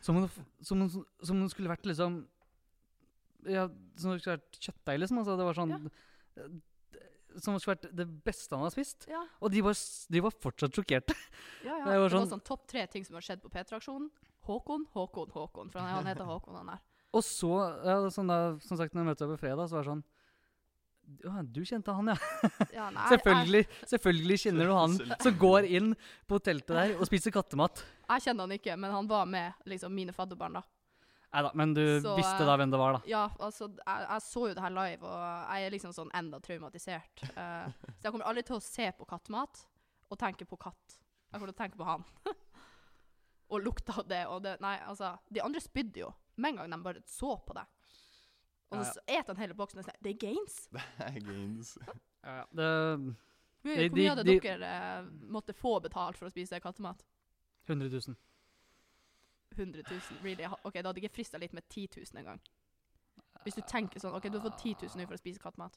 Speaker 1: Som om det f- som om- som om det skulle vært liksom Ja, som om det skulle vært kjøttdeig, liksom. Altså, det var sånn eh, Som om det skulle vært det beste han har spist.
Speaker 3: Ja,
Speaker 1: Og de var, s- de var fortsatt sjokkerte.
Speaker 3: ja,
Speaker 1: Det
Speaker 3: ja.
Speaker 1: var
Speaker 3: Det var sånn,
Speaker 1: sånn-
Speaker 3: topp tre ting som har skjedd på P3-aksjonen. Håkon, Håkon, Håkon. For han, han heter Håkon, han der.
Speaker 1: Og så, ja, sånn da, som sagt, når jeg møtte deg på fredag, så var det sånn ja, du kjente han, ja.
Speaker 3: Ja, nei,
Speaker 1: Selvfølgelig, selvfølgelig kjenner du han som går inn på teltet der og spiser kattemat.
Speaker 3: Jeg, jeg kjenner han ikke, men han var med liksom, mine fadderbarn, da.
Speaker 1: Nei da, men du
Speaker 3: Så, eh,
Speaker 1: visste da hvem det var, da.
Speaker 3: Ja, altså, jeg, jeg så jo det her live, og jeg er liksom sånn enda traumatisert. Eh, så jeg kommer aldri til å se på kattemat og tenke på katt. Jeg kommer til å tenke på han. og lukta av det, og det Nei, altså. De andre spydde jo med en gang de bare så på det. Og så
Speaker 1: Ja,
Speaker 3: s- et han hele boksen og sier 'Det er gains'.
Speaker 2: Det er gains.
Speaker 1: Ja, det,
Speaker 3: Hvor mye,
Speaker 1: Nei,
Speaker 3: hvor mye
Speaker 1: de-
Speaker 3: hadde
Speaker 1: de-
Speaker 3: dere eh, måtte få betalt for å spise kattemat?
Speaker 1: 100 000.
Speaker 3: 100 000, really? Ha- Ok, Da hadde ikke frista litt med 10 000 engang. Hvis du tenker sånn OK, du har fått 10 000 nå for å spise kattemat.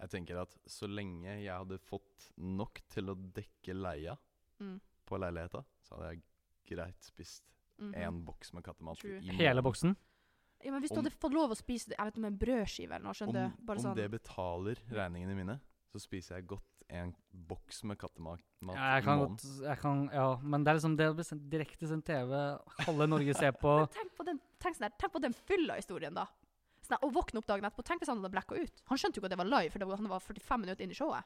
Speaker 2: Jeg tenker at så lenge jeg hadde fått nok til å dekke leia
Speaker 3: Mm.
Speaker 2: på leiligheta, så hadde jeg greit spist
Speaker 3: Mhm.
Speaker 2: én boks med kattemat.
Speaker 3: True.
Speaker 2: i
Speaker 1: Hele
Speaker 2: måneden.
Speaker 1: boksen?
Speaker 3: Ja, men Hvis du
Speaker 2: Om-
Speaker 3: hadde fått lov å spise det, jeg vet ikke, med en brødskive eller noe,
Speaker 2: Om,
Speaker 3: skjønner du? Bare
Speaker 2: om
Speaker 3: sånn,
Speaker 2: det betaler regningene mine, så spiser jeg godt en boks med kattemat
Speaker 1: Ja, jeg
Speaker 2: i
Speaker 1: kan
Speaker 2: måneden.
Speaker 1: godt jeg kan, Ja, men det er liksom det å bli sendt- direkte sendt TV, halve Norge ser på
Speaker 3: Men tenk på den, tenk sånn der, tenk på den fylla historien, da. Sånn der, og våkne opp dagen etterpå. Tenk hvis han hadde blacka ut. Han skjønte jo ikke at det var live, for det var, han var 45 minutter inn i showet.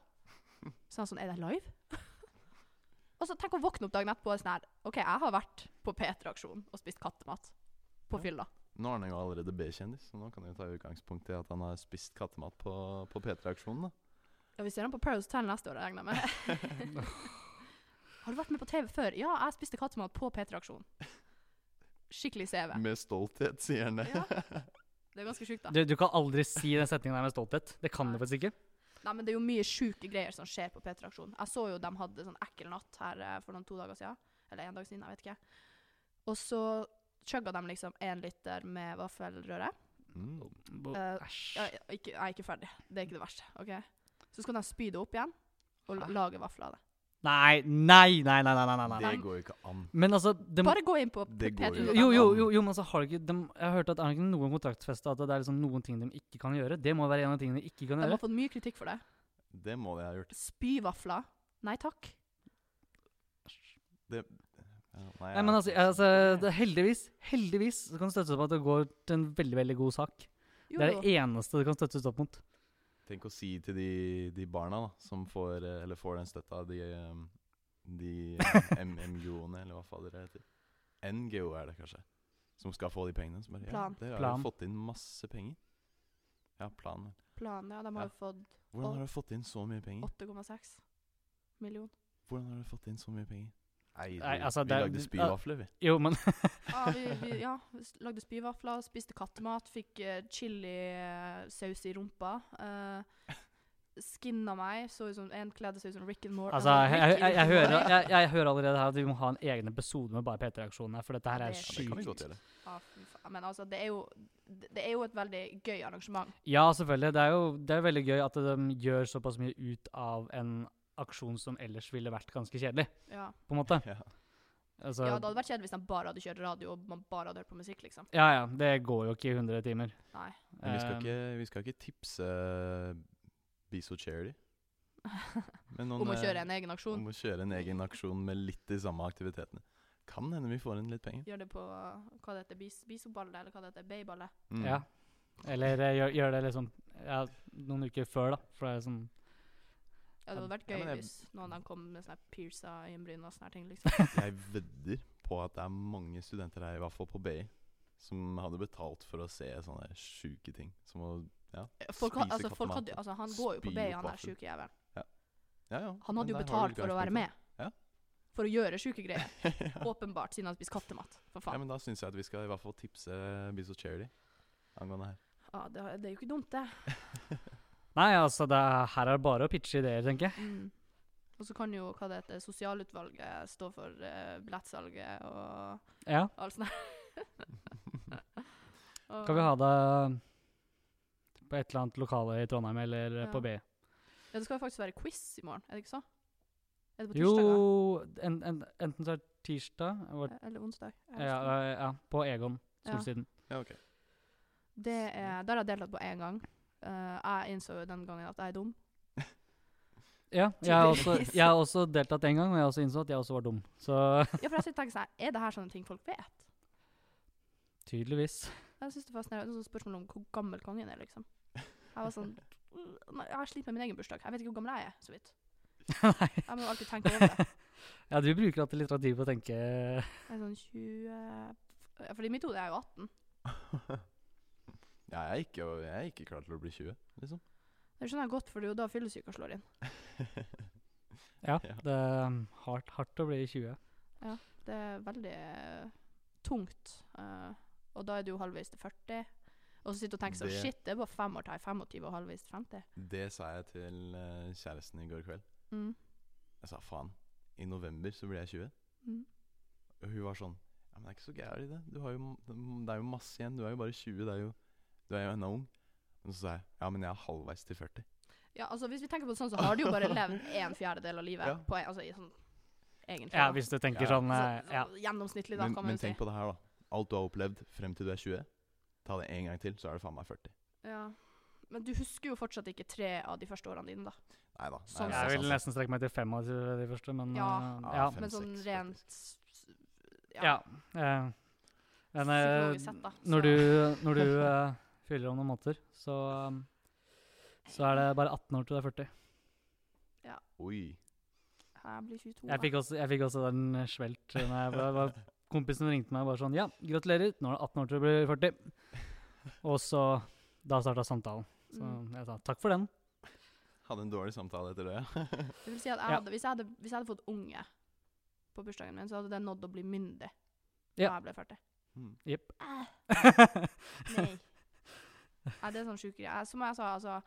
Speaker 3: Så han sånn Er det live? og så tenk å våkne opp dagen etterpå og sånn her OK, jeg har vært på P3-aksjon og spist kattemat på fylla.
Speaker 2: Nå er han jo allerede B-kjendis, så nå kan jeg jo ta utgangspunkt i at han har spist kattemat på, på P3-aksjonen. da.
Speaker 3: Ja, vi ser han på Paradise Hotel neste år, regner jeg med. har du vært med på TV før? Ja, jeg spiste kattemat på P3-aksjon. Skikkelig CV.
Speaker 2: Med stolthet, sier han det.
Speaker 3: Ja. Det er ganske sjukt, da.
Speaker 1: du, du kan aldri si den setningen der med stolthet. Det kan du faktisk ikke.
Speaker 3: Nei, men det er jo mye sjuke greier som skjer på P3-aksjonen. Jeg så jo de hadde sånn ekkel natt her eh, for noen to dager siden. Eller en dag siden, jeg vet ikke. Og så chugga de liksom én liter med vaffelrøre.
Speaker 2: Mm.
Speaker 1: Bo-
Speaker 3: Eh,
Speaker 1: Æsj.
Speaker 3: Jeg, jeg, ikke, jeg er ikke ferdig. Det er ikke det verste. ok? Så skal de spy det opp igjen og la- lage vafler av det.
Speaker 1: Nei, nei, nei, nei, nei, nei, nei, nei.
Speaker 2: Det går jo ikke an.
Speaker 1: Men altså det,
Speaker 3: Bare gå inn på
Speaker 2: Det går jo.
Speaker 3: P3.
Speaker 1: jo, jo, jo, jo, men altså har de ikke de, Jeg har hørt at er det ikke noen kontraktsfeste at det er liksom noen ting de ikke kan gjøre? Det må være en av tingene de ikke kan
Speaker 3: De
Speaker 1: gjøre.
Speaker 3: har fått mye kritikk for det.
Speaker 2: Det må jeg ha gjort.
Speaker 3: Spyvafler. Nei takk.
Speaker 2: Ja,
Speaker 1: Nei, men altså, altså det, heldigvis, heldigvis så kan det støttes opp at det går til en veldig, veldig god sak.
Speaker 3: Jo,
Speaker 1: Det er
Speaker 3: jo.
Speaker 1: det eneste det kan støttes opp mot.
Speaker 2: Tenk å si til de, de barna da, som får, eh, eller får den støtta, de, eh, de eh, M- MGO-ene, eller hva fader det heter. NGO er det kanskje, som skal få de pengene. Som bare,
Speaker 3: Plan.
Speaker 2: Ja, dere har
Speaker 1: Plan.
Speaker 2: jo fått inn masse penger. Ja, plan.
Speaker 3: Planen, ja. De har jo fått
Speaker 2: Hvordan har dere fått inn så mye penger?
Speaker 3: 8,6 million.
Speaker 2: Hvordan har dere fått inn så mye penger? Nei,
Speaker 1: Nei,
Speaker 2: vi-
Speaker 1: altså,
Speaker 2: vi
Speaker 1: det er-
Speaker 2: lagde
Speaker 1: det-
Speaker 2: spyvafler, vi.
Speaker 1: Jo, men
Speaker 3: Ja, vi, vi ja, vi s- lagde spyvafler, spiste kattemat, fikk eh, chilisaus i rumpa. Uh, skinna meg, så ut som en kledde seg ut som Rick and Morty.
Speaker 1: altså, jeg, jeg, jeg, jeg, hører, jeg, jeg hører allerede her at vi må ha en egen episode med bare P3-aksjonen her, for dette her
Speaker 3: Ja,
Speaker 1: er
Speaker 3: det er
Speaker 2: Ja, det kan vi
Speaker 1: sjukt.
Speaker 2: godt gjøre.
Speaker 3: Ja, fy faen. men altså, det er, jo, det det er jo et veldig gøy arrangement.
Speaker 1: Ja, selvfølgelig. Det er jo det er veldig gøy at de gjør såpass mye ut av en aksjon som ellers ville vært ganske kjedelig,
Speaker 3: Ja.
Speaker 1: på en måte.
Speaker 2: Ja.
Speaker 1: Altså,
Speaker 3: ja,
Speaker 1: ja,
Speaker 3: det hadde vært kjedelig hvis de bare hadde kjørt radio og man bare hadde hørt på musikk, liksom.
Speaker 1: ja, Det går jo ikke i 100 timer.
Speaker 3: Nei.
Speaker 2: Men vi skal
Speaker 1: Eh,
Speaker 2: ikke, vi skal ikke tipse Biso Charity. Men noen,
Speaker 3: Om å
Speaker 2: eh,
Speaker 3: kjøre en egen aksjon.
Speaker 2: Om å kjøre en egen aksjon med litt de samme aktivitetene. Kan hende vi får inn litt penger.
Speaker 3: Gjør det på eh, hva det heter, bis bisoballet, eller hva det heter, bayballet.
Speaker 2: Mm.
Speaker 1: Ja. Eller eh, gjør, gjør det liksom ja, noen uker før, da. For det er sånn
Speaker 3: Ja, det hadde vært
Speaker 2: Ja,
Speaker 3: gøy
Speaker 2: men jeg-
Speaker 3: hvis noen av dem kom med sånne her piercer i øyenbrynene og sånne her ting, liksom.
Speaker 2: Mm. Jeg vedder på at det er mange studenter her, i hvert fall på BI, som hadde betalt for å se sånne sjuke ting. Som å ja.
Speaker 3: Folk, ha-
Speaker 2: Spise
Speaker 3: altså, folk
Speaker 2: kattemat,
Speaker 3: hadde, altså, han går jo på
Speaker 2: spy
Speaker 3: BI,
Speaker 2: opp
Speaker 3: han er
Speaker 2: vaffel.
Speaker 3: sjuke jævelen.
Speaker 2: ja, ja.
Speaker 3: Han
Speaker 2: men
Speaker 3: hadde jo
Speaker 2: der har
Speaker 3: betalt
Speaker 2: du
Speaker 3: for å være med.
Speaker 2: Ja.
Speaker 3: For å gjøre sjuke greier.
Speaker 2: utgangspunktet. ja.
Speaker 3: Åpenbart, siden han spiser kattemat. For
Speaker 2: ja,
Speaker 3: faen.
Speaker 2: men da syns jeg at vi skal i hvert fall tipse Biso Charity angående her.
Speaker 3: Ja, det, det er jo ikke dumt, det.
Speaker 1: Nei, altså, det er, her er det bare å pitche ideer, tenker jeg.
Speaker 3: Mm. Og så kan jo hva det heter, sosialutvalget stå for eh, billettsalget og
Speaker 1: Ja.
Speaker 3: alt sånt. Og-
Speaker 1: Kan vi ha det eh, på et eller annet lokale i Trondheim eller eh,
Speaker 3: Ja.
Speaker 1: på B?
Speaker 3: Ja, det skal jo faktisk være quiz i morgen, er det ikke så? Er det på
Speaker 1: Jo,
Speaker 3: tirsdag? da?
Speaker 1: en, en, enten så er det tirsdag eller,
Speaker 3: Eller onsdag? Jeg
Speaker 1: ja,
Speaker 3: husker ikke.
Speaker 1: eh, ja, på Egon
Speaker 3: Ja.
Speaker 1: Solsiden.
Speaker 2: Ja, ok.
Speaker 3: Det er, der har jeg deltatt på én gang. Eh, jeg innså jo den gangen at jeg er dum.
Speaker 1: Ja, jeg har også,
Speaker 3: Tydeligvis.
Speaker 1: jeg har også deltatt en gang, og jeg har også innså at jeg også var dum. Så
Speaker 3: Ja, for jeg sitter og tenker sånn, her, Er det her sånne ting folk vet?
Speaker 1: tydeligvis.
Speaker 3: Jeg synes det er fascinerende. Sånn spørsmål om hvor gammel kongen er, liksom. Jeg var sånn Nei, Jeg sliter med min egen bursdag. Jeg vet ikke hvor gammel jeg er, så vidt.
Speaker 1: Nei.
Speaker 3: Jeg må jo alltid tenke over det.
Speaker 1: Ja, du bruker alltid litteratur på å tenke eh,
Speaker 3: Jeg er sånn 20 ja, Fordi i mitt hode er jeg jo 18.
Speaker 2: ja, jeg er, ikke, jeg er ikke klar til å bli 20, liksom.
Speaker 3: Det skjønner jeg godt, for det er jo da fyllesyka slår inn.
Speaker 1: Ja,
Speaker 2: Ja.
Speaker 1: det er mm, hardt, hardt å bli 20.
Speaker 3: Det er veldig eh, tungt. eh, og da er du jo halvveis til 40. Og så sitter du og tenker sånn
Speaker 2: Det-
Speaker 3: Shit, det er bare fem år til jeg er 25 og halvveis 50.
Speaker 2: Det sa jeg til eh, kjæresten i går kveld.
Speaker 3: Mm.
Speaker 2: Jeg sa faen, i november så blir jeg 20.
Speaker 3: Mm.
Speaker 2: Og hun var sånn Ja, men det er ikke så gærent, det. Du har jo, m- det er jo masse igjen. Du er jo bare 20. Det er jo, du er jo ennå ung. Men så sa jeg ja, men jeg er halvveis til 40.
Speaker 3: Ja, altså Hvis vi tenker på det sånn, så har du jo bare levd en fjerdedel av livet.
Speaker 2: Ja.
Speaker 3: På en, altså, i sånn, egentlig.
Speaker 1: Ja,
Speaker 3: da.
Speaker 1: hvis du tenker
Speaker 2: Ja.
Speaker 1: sånn
Speaker 3: Så,
Speaker 1: eh, ja.
Speaker 3: så Altså, Gjennomsnittlig, da,
Speaker 2: Men,
Speaker 3: kan man
Speaker 2: men
Speaker 3: jo si.
Speaker 2: tenk på det her, da. Alt du har opplevd frem til du er 20. Ta det en gang til, så er du faen meg 40.
Speaker 3: Ja. Men du husker jo fortsatt ikke tre av de første årene dine, da.
Speaker 2: Nei da.
Speaker 3: Sånn
Speaker 1: Jeg
Speaker 3: sett.
Speaker 1: vil nesten strekke meg til fem av de de første, men
Speaker 3: Ja.
Speaker 1: eh,
Speaker 2: Ja,
Speaker 1: ja.
Speaker 2: Fem,
Speaker 3: Men sånn
Speaker 2: seks,
Speaker 3: rent
Speaker 1: ja. eh, men eh,
Speaker 3: psykologisk sett, da. så-
Speaker 1: når du, når du eh, fyller om noen måneder, så, um, så er det bare 18 år til du er 40.
Speaker 2: Oi.
Speaker 3: Jeg blir 22,
Speaker 1: Jeg fikk også, jeg fikk også den eh, svelt. eh, Når jeg var, var kompisen ringte meg og bare sånn Ja, gratulerer, nå er det 18 år til du blir 40. Og så Da starta samtalen.
Speaker 3: da.
Speaker 1: Så
Speaker 3: Mm.
Speaker 1: jeg sa takk for den.
Speaker 2: Hadde en dårlig samtale etter det.
Speaker 3: Det vil si at jeg
Speaker 1: Ja.
Speaker 3: hadde, hvis, jeg hadde, hvis jeg hadde fått unge på bursdagen min, så hadde den nådd å bli myndig
Speaker 1: Ja.
Speaker 3: da jeg ble 40.
Speaker 2: Mm.
Speaker 1: Jepp.
Speaker 3: Eh, Nei. Nei, det er sånn sjuk greie. Jeg- Som jeg sa, altså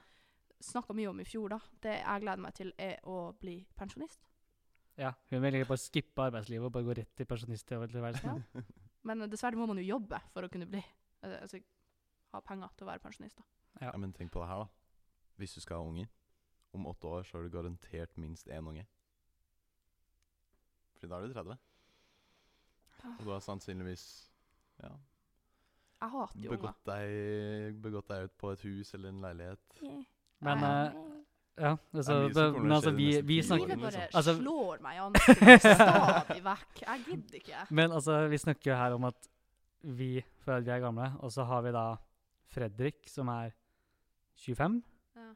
Speaker 3: Snakka mye om i fjor, da. Det jeg gleder meg til, er å bli pensjonist.
Speaker 1: ja, hun ville egentlig bare skippe arbeidslivet og bare gå rett til pensjonisttilværelsen.
Speaker 3: Men eh, dessverre må man jo jobbe for å kunne bli eh, Altså ha penger til å være pensjonist, da.
Speaker 1: Ja.
Speaker 2: Ja, men tenk på det her, da. Hvis du skal ha unger, om åtte år så har du garantert minst én unge. Fordi da er du 30. Og du har sannsynligvis ja,
Speaker 3: Jeg hater jo unger.
Speaker 2: begått, deg, begått deg ut på et hus eller en leilighet.
Speaker 1: Men,
Speaker 3: Nei.
Speaker 1: Ja, altså,
Speaker 2: mye som
Speaker 1: men
Speaker 2: kommer til å
Speaker 1: altså,
Speaker 2: skje de
Speaker 1: vi,
Speaker 2: neste
Speaker 1: vi
Speaker 2: ti
Speaker 1: snakker
Speaker 3: Livet bare
Speaker 1: Altså-
Speaker 3: slår meg i ansiktet stadig vekk. Jeg gidder ikke.
Speaker 1: Men altså, vi snakker jo her om at vi føler at vi er gamle, og så har vi da Fredrik som er 25.
Speaker 3: Ja.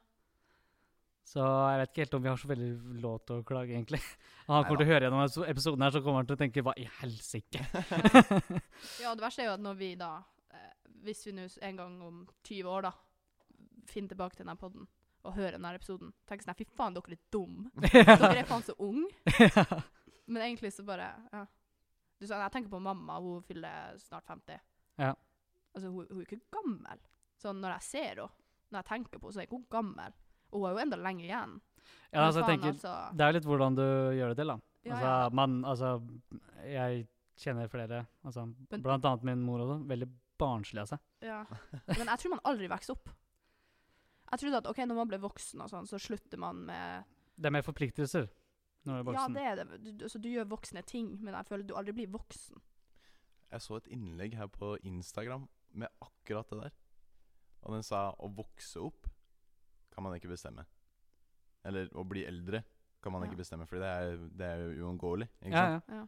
Speaker 1: Så jeg vet ikke helt om vi har så veldig lov til å klage, egentlig. Og han kommer
Speaker 2: Neida.
Speaker 1: til å høre gjennom episo- episoden her, så kommer han til å tenke hva i helsike?
Speaker 3: Ja, det verste er jo at når vi da, eh, hvis vi nå s- en gang om 20 år da, finner tilbake til denne podden, og hører denne episoden, tenker sånn, fy faen, dere er dum. Dere er faen så ung. Men egentlig så bare, ja. Du sa, jeg tenker på mamma, hun fyller snart 50.
Speaker 1: Ja.
Speaker 3: Altså, hun, hun er ikke gammel. Sånn, når jeg ser henne, når jeg tenker på henne, så er ikke hun gammel. Og hun er jo enda lenger igjen.
Speaker 1: Ja,
Speaker 3: Men
Speaker 1: altså, jeg
Speaker 3: faen,
Speaker 1: tenker,
Speaker 3: altså,
Speaker 1: det er jo litt hvordan du gjør det til, da.
Speaker 3: ja,
Speaker 1: Altså,
Speaker 3: ja.
Speaker 1: man, altså, jeg kjenner flere, altså,
Speaker 3: Men-
Speaker 1: blant annet min mor også, veldig barnslig av seg.
Speaker 3: Ja. Men jeg tror man aldri vokser opp. Jeg trodde at ok, når man ble voksen, og sånn, så slutter man med
Speaker 1: Det er mer forpliktelser når du er
Speaker 3: Ja,
Speaker 1: voksen.
Speaker 3: det er det. Du, du, altså, du gjør voksne ting, men jeg føler du aldri blir voksen.
Speaker 2: Jeg så et innlegg her på Instagram med akkurat det der. Og den sa å vokse opp kan man ikke bestemme. Eller å bli eldre kan man
Speaker 3: Ja.
Speaker 2: ikke bestemme, for det er, det er jo uunngåelig. Ikke
Speaker 1: ja,
Speaker 2: sant?
Speaker 1: ja.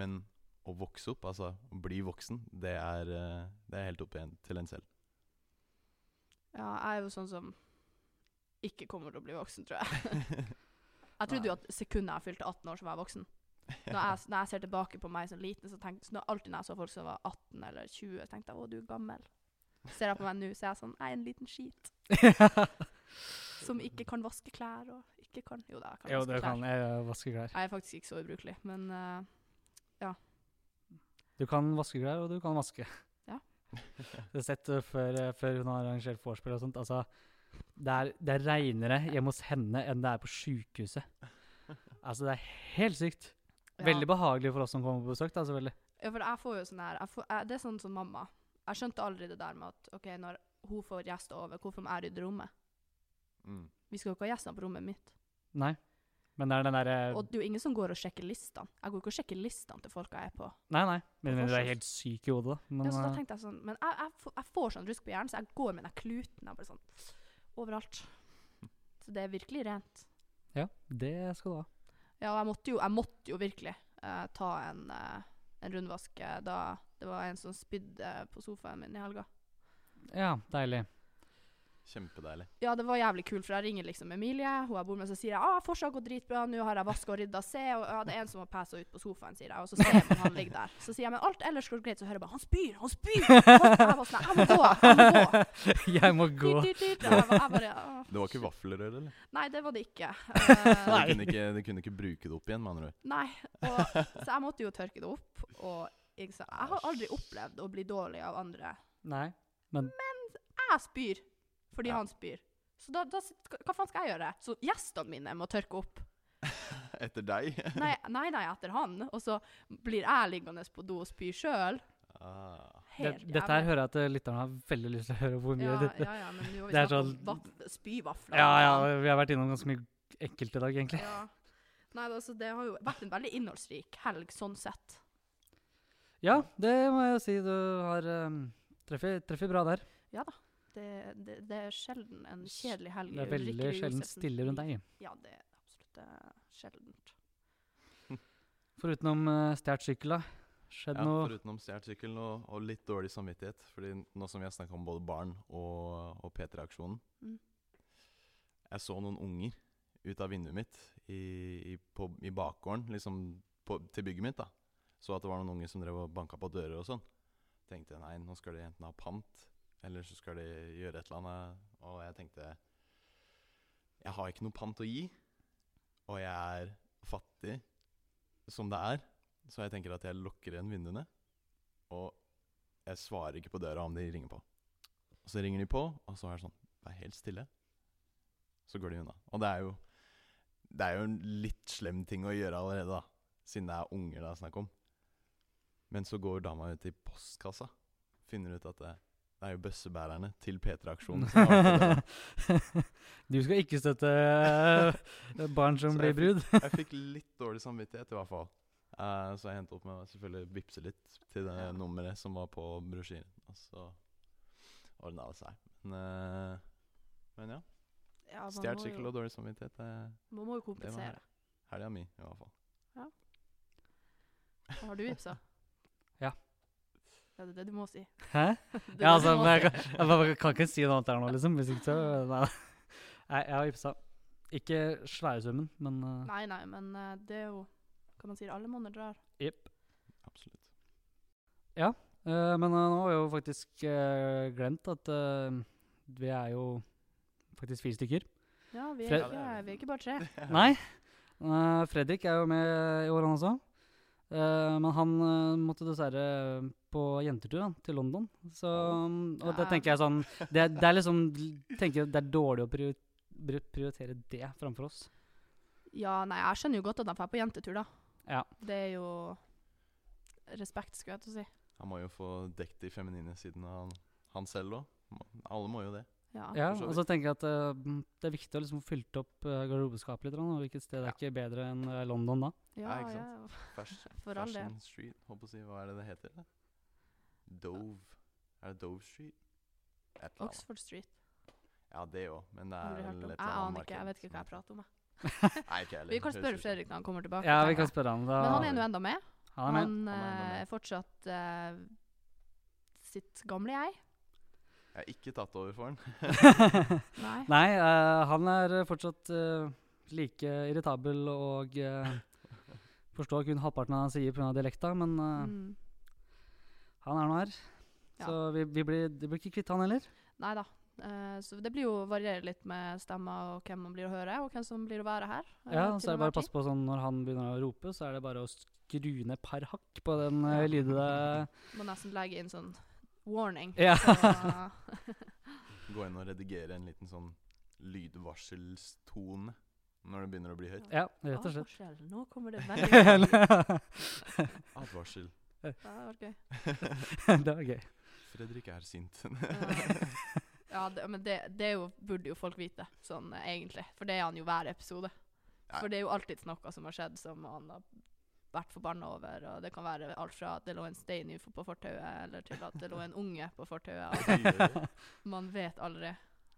Speaker 2: Men å vokse opp, altså å bli voksen, det er, eh, det er helt opp igjen til en selv.
Speaker 3: Ja, jeg er jo sånn som ikke kommer til å bli voksen, tror jeg. Jeg trodde jo at sekundet jeg fylte 18 år, så var jeg voksen. Når jeg, når jeg ser tilbake på meg som liten, så tenk, så når, alltid når jeg så folk som var 18 eller 20, så tenkte jeg å, du er gammel. Ser jeg på meg nå, så er jeg sånn, jeg er en liten skit. Som ikke kan vaske klær og ikke kan Jo da, jeg kan
Speaker 1: Jo,
Speaker 3: vaske
Speaker 1: det
Speaker 3: klær.
Speaker 1: kan jeg vaske klær.
Speaker 3: Jeg er faktisk ikke så ubrukelig, men eh,
Speaker 1: Du kan vaske klær, og du kan vaske.
Speaker 3: Ja.
Speaker 1: Det er sett eh, før, eh, før hun har arrangert vorspiel og sånt. Altså, det er, det er reinere hjemme hos henne enn det er på sykehuset. Altså, det er helt sykt.
Speaker 3: ja.
Speaker 1: Veldig behagelig for oss som kommer på besøk, da, selvfølgelig.
Speaker 3: Ja, for jeg får jo sånn her jeg får, jeg, Det er sånn som mamma. Jeg skjønte aldri det der med at OK, når hun får gjester over, hvorfor må jeg rydde rommet?
Speaker 2: Mm.
Speaker 3: Vi skal jo ikke ha gjestene på rommet mitt.
Speaker 1: Nei. Men det er den derre
Speaker 3: Og det er jo ingen som går og sjekker listene. Jeg går ikke og sjekker listene til folka jeg er på.
Speaker 1: Nei, nei. Men,
Speaker 3: på
Speaker 1: men du er
Speaker 3: forskjell.
Speaker 1: helt syk i hodet, da. Men
Speaker 3: ja, så da
Speaker 1: eh,
Speaker 3: tenkte jeg sånn Men jeg, jeg, får, jeg får sånn rusk på hjernen, så jeg går med den kluten. Jeg bare sånn Overalt. Så det er virkelig rent.
Speaker 1: ja, det skal du ha.
Speaker 3: Ja, og jeg måtte jo, jeg måtte jo virkelig eh, ta en, eh, en rundvask eh, da det var en som spydde på sofaen min i helga.
Speaker 1: Ja, deilig.
Speaker 2: Kjempedeilig.
Speaker 3: Ja, det var jævlig kult, for jeg ringer liksom Emilie, hun jeg bor med, så sier jeg ah, fortsatt går dritbra, nå har jeg vaska og rydda, se, og ja, det er en som har pæsa ut på sofaen, sier jeg, og så ser man han ligger der. Så sier jeg, men alt ellers går greit, så hører jeg bare han spyr, han spyr! Han- Jeg var sånn, jeg må gå, jeg må gå!
Speaker 1: Jeg må gå.
Speaker 3: Dyrt, dyrt, dyrt. Jeg bare, jeg bare, «Åh».
Speaker 2: Det var ikke vaffelrør, eller?
Speaker 3: Nei, det var det ikke.
Speaker 2: Du
Speaker 3: Eh,
Speaker 2: kunne ikke, du kunne ikke bruke det opp igjen, med andre ord.
Speaker 3: nei. Og, så jeg måtte jo tørke det opp, og ikke sant, jeg har aldri opplevd å bli dårlig av andre.
Speaker 1: Nei. Men-
Speaker 3: mens jeg spyr fordi
Speaker 2: Ja.
Speaker 3: han spyr. Så da, da sit- hva- Hva faen skal jeg gjøre? Så gjestene mine må tørke opp.
Speaker 2: Etter deg.
Speaker 3: Nei, nei, nei, etter han. Og så blir jeg liggende på do og spy sjøl.
Speaker 2: Ah.
Speaker 1: Det, dette her hører jeg at eh, lytterne har veldig lyst til å høre hvor mye
Speaker 3: ja,
Speaker 1: det,
Speaker 3: ja, ja, men nå har vi
Speaker 1: Det er
Speaker 3: snakket om
Speaker 1: sånn-
Speaker 3: vat- spyvafler.
Speaker 1: ja, ja, vi har vært innom ganske mye ekkelt i dag, egentlig.
Speaker 3: Ja. Nei, altså, det har jo vært en veldig innholdsrik helg, sånn sett.
Speaker 1: Ja, det må jeg si. Du har um, treffer, treffer bra der.
Speaker 3: Ja da. Det, det, det er sjelden en kjedelig helg.
Speaker 1: Det er veldig
Speaker 3: Ulrikke
Speaker 1: sjelden
Speaker 3: Josefsen.
Speaker 1: stille rundt deg.
Speaker 3: Ja, det er absolutt eh, sjeldent.
Speaker 1: Foruten om uh, stjålet sykkel, da. Skjedd
Speaker 2: Ja,
Speaker 1: noe
Speaker 2: foruten om stjålet sykkel og, og litt dårlig samvittighet. Fordi nå som vi har snakka om både barn og, og P3-aksjonen
Speaker 3: Mm.
Speaker 2: Jeg så noen unger ut av vinduet mitt i, i, på, i bakgården, liksom på, til bygget mitt. da Så at det var noen unger som drev og banka på dører og sånn. Tenkte nei, nå skal de enten ha pant, eller så skal de gjøre et eller annet. Og jeg tenkte Jeg har ikke noe pant å gi, og jeg er fattig som det er. Så jeg tenker at jeg lukker igjen vinduene, og jeg svarer ikke på døra om de ringer på. Og så ringer de på, og så er det sånn Vær helt stille. Så går de unna. Og det er jo Det er jo en litt slem ting å gjøre allerede, da. Siden det er unger det er snakk om. Men så går dama ut i postkassa. Finner ut at det, det er jo bøssebærerne til P3-aksjonen som har vært på døra.
Speaker 1: Du skal ikke støtte eh, barn som
Speaker 2: Så
Speaker 1: blir
Speaker 2: jeg
Speaker 1: brud.
Speaker 2: Jeg fikk litt dårlig samvittighet i hvert fall. Eh, så jeg hentet opp med å selvfølgelig vippse litt til det
Speaker 3: Ja.
Speaker 2: nummeret som var på brosjyren. Og så ordna det seg. Men, eh, men ja.
Speaker 3: Ja, man
Speaker 2: Stjålet
Speaker 3: må
Speaker 2: sykkel
Speaker 3: jo-
Speaker 2: og dårlig samvittighet er
Speaker 3: Man må
Speaker 2: det var
Speaker 3: jo kompensere.
Speaker 2: her. helga mi, i hvert fall.
Speaker 3: Hva har du vippsa?
Speaker 1: Ja.
Speaker 3: Ja, det er det du må si. Det
Speaker 1: Hæ?
Speaker 3: er
Speaker 1: Ja,
Speaker 3: det du
Speaker 1: altså,
Speaker 3: må
Speaker 1: men jeg,
Speaker 3: si.
Speaker 1: kan, jeg bare kan ikke si noe annet her nå, liksom. Hvis ikke så Nei, Nei, jeg har ipsa. Ikke svære summen, men eh,
Speaker 3: Nei, nei, men eh, det er jo Hva man sier, alle monner drar.
Speaker 1: jepp.
Speaker 2: Absolutt.
Speaker 1: Eh, men eh, nå har jeg jo faktisk eh, glemt at eh, vi er jo faktisk fire stykker.
Speaker 3: Ja, vi er,
Speaker 1: Fred-
Speaker 3: ikke, vi er ikke bare tre.
Speaker 1: Nei. Eh, Fredrik er jo med i år, han også. Eh, men han eh, måtte dessverre eh, på jentetur da, til London. Så, og da
Speaker 3: Ja.
Speaker 1: tenker jeg sånn Det, er- det er liksom tenker Det er dårlig å priori- pri- prioritere det framfor oss.
Speaker 3: Ja, nei, jeg skjønner jo godt at de drar på jentetur, da.
Speaker 1: Ja.
Speaker 3: Det er jo Respekt, skulle jeg til å si.
Speaker 2: Han må jo få dekket de feminine sidene av han, han selv òg. Alle må jo det.
Speaker 3: Ja.
Speaker 1: Ja,
Speaker 2: for så
Speaker 1: og så tenker jeg at eh, m, det er viktig å liksom få fylt opp uh, garderobeskapet litt. da, Og hvilket sted er ikke bedre enn eh, London da?
Speaker 3: Ja,
Speaker 2: ikke
Speaker 3: ja,
Speaker 2: sant? Fashion,
Speaker 3: for all del.
Speaker 2: fashion Street, håper å si. Hva er det det heter? da? Dove. Er det Dove Street? Et eller annet.
Speaker 3: Oxford Street.
Speaker 2: Ja, det òg, men det er
Speaker 3: Aldri hørt
Speaker 2: vel
Speaker 3: om.
Speaker 2: et eller
Speaker 3: Jeg
Speaker 2: annet
Speaker 3: aner ikke,
Speaker 2: marked
Speaker 3: jeg vet ikke
Speaker 2: som-
Speaker 3: hva jeg prater om. jeg.
Speaker 2: Nei, ikke heller.
Speaker 3: Vi kan
Speaker 2: Høres ut
Speaker 3: spørre
Speaker 2: som-
Speaker 3: Fredrik når han kommer tilbake.
Speaker 1: Ja, vi
Speaker 3: tenker
Speaker 1: kan
Speaker 3: jeg.
Speaker 1: spørre han. Da.
Speaker 3: Men han er nå enda med.
Speaker 1: Han
Speaker 3: Han,
Speaker 1: er med.
Speaker 2: Han er enda
Speaker 3: eh,
Speaker 2: med.
Speaker 3: er fortsatt eh, sitt gamle jeg.
Speaker 2: Jeg har ikke tatt over for han.
Speaker 3: Nei.
Speaker 1: Nei, eh, han er eh, fortsatt eh, like irritabel og eh, forstår kun halvparten av det han sier pga. dialekta, men eh,
Speaker 3: Mm.
Speaker 1: han er nå her.
Speaker 3: Ja.
Speaker 1: Så vi, vi blir, det blir ikke kvitt han heller.
Speaker 3: Nei da. Eh, så det blir jo variere litt med stemmer og hvem man blir å høre, og hvem som blir å være her. eh,
Speaker 1: Ja,
Speaker 3: til
Speaker 1: så er det
Speaker 3: enhver
Speaker 1: bare å
Speaker 3: tid.
Speaker 1: passe på sånn når han begynner å rope, så er det bare å skru ned par hakk på den uh, lydige
Speaker 3: Må nesten legge inn sånn warning.
Speaker 1: Ja.
Speaker 3: Så,
Speaker 2: Gå inn og redigere en liten sånn lydvarselstone når det begynner å bli høyt.
Speaker 1: Ja, rett og slett.
Speaker 3: Advarsel. Nå kommer Ah, det veldig mye.
Speaker 1: det
Speaker 2: Advarsel.
Speaker 3: Ja, det var gøy.
Speaker 1: var gøy.
Speaker 2: Fredrik er sint.
Speaker 3: Eh, ja, det, men det, det er jo, burde jo folk vite, sånn eh, egentlig. For det er han jo hver episode.
Speaker 2: Ja.
Speaker 3: For det er jo alltid noe som har skjedd som han har vært forbanna over. Og det kan være alt fra at det lå en stein i- på fortauet, eller til at det lå en unge på fortauet. og
Speaker 2: Oi,
Speaker 3: Man vet aldri.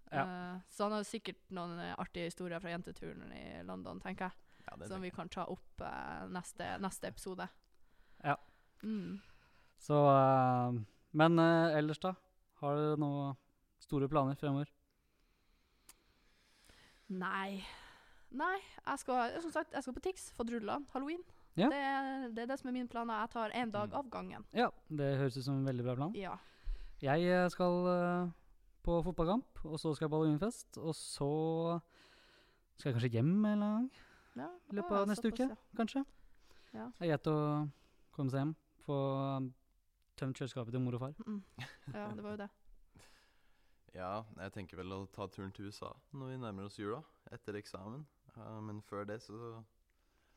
Speaker 3: Eh, så han har sikkert noen eh, artige historier fra jenteturen i London, tenker jeg.
Speaker 2: ja, det
Speaker 3: som
Speaker 2: tenker
Speaker 3: vi
Speaker 2: jeg.
Speaker 3: kan ta opp eh, neste, neste episode.
Speaker 1: Ja.
Speaker 3: Mm.
Speaker 1: Så eh, Men eh, ellers, da? Har dere noen store planer fremover?
Speaker 3: Nei. Nei, jeg skal, som sagt, jeg skal på Tix, få drullene, halloween.
Speaker 1: Ja.
Speaker 3: Det, er- det er det som er mine planer. Jeg tar én dag
Speaker 2: Mm.
Speaker 3: av gangen.
Speaker 1: Ja, det høres ut som en veldig bra plan.
Speaker 3: Ja.
Speaker 1: Jeg eh, skal eh, på fotballkamp, og så skal jeg på Halloweenfest. Og så skal jeg kanskje hjem en eller annen gang,
Speaker 3: ja.
Speaker 1: I løpet av
Speaker 3: ja,
Speaker 1: neste
Speaker 3: såpass,
Speaker 1: uke.
Speaker 3: ja.
Speaker 1: kanskje.
Speaker 3: Ja.
Speaker 1: Det er greit å komme seg hjem, få eh, tømt kjøleskapet til mor og far.
Speaker 3: Mm. Ja, det var jo det.
Speaker 2: Ja, jeg tenker vel å ta turen til USA når vi nærmer oss jula, etter eksamen. Eh, men før det så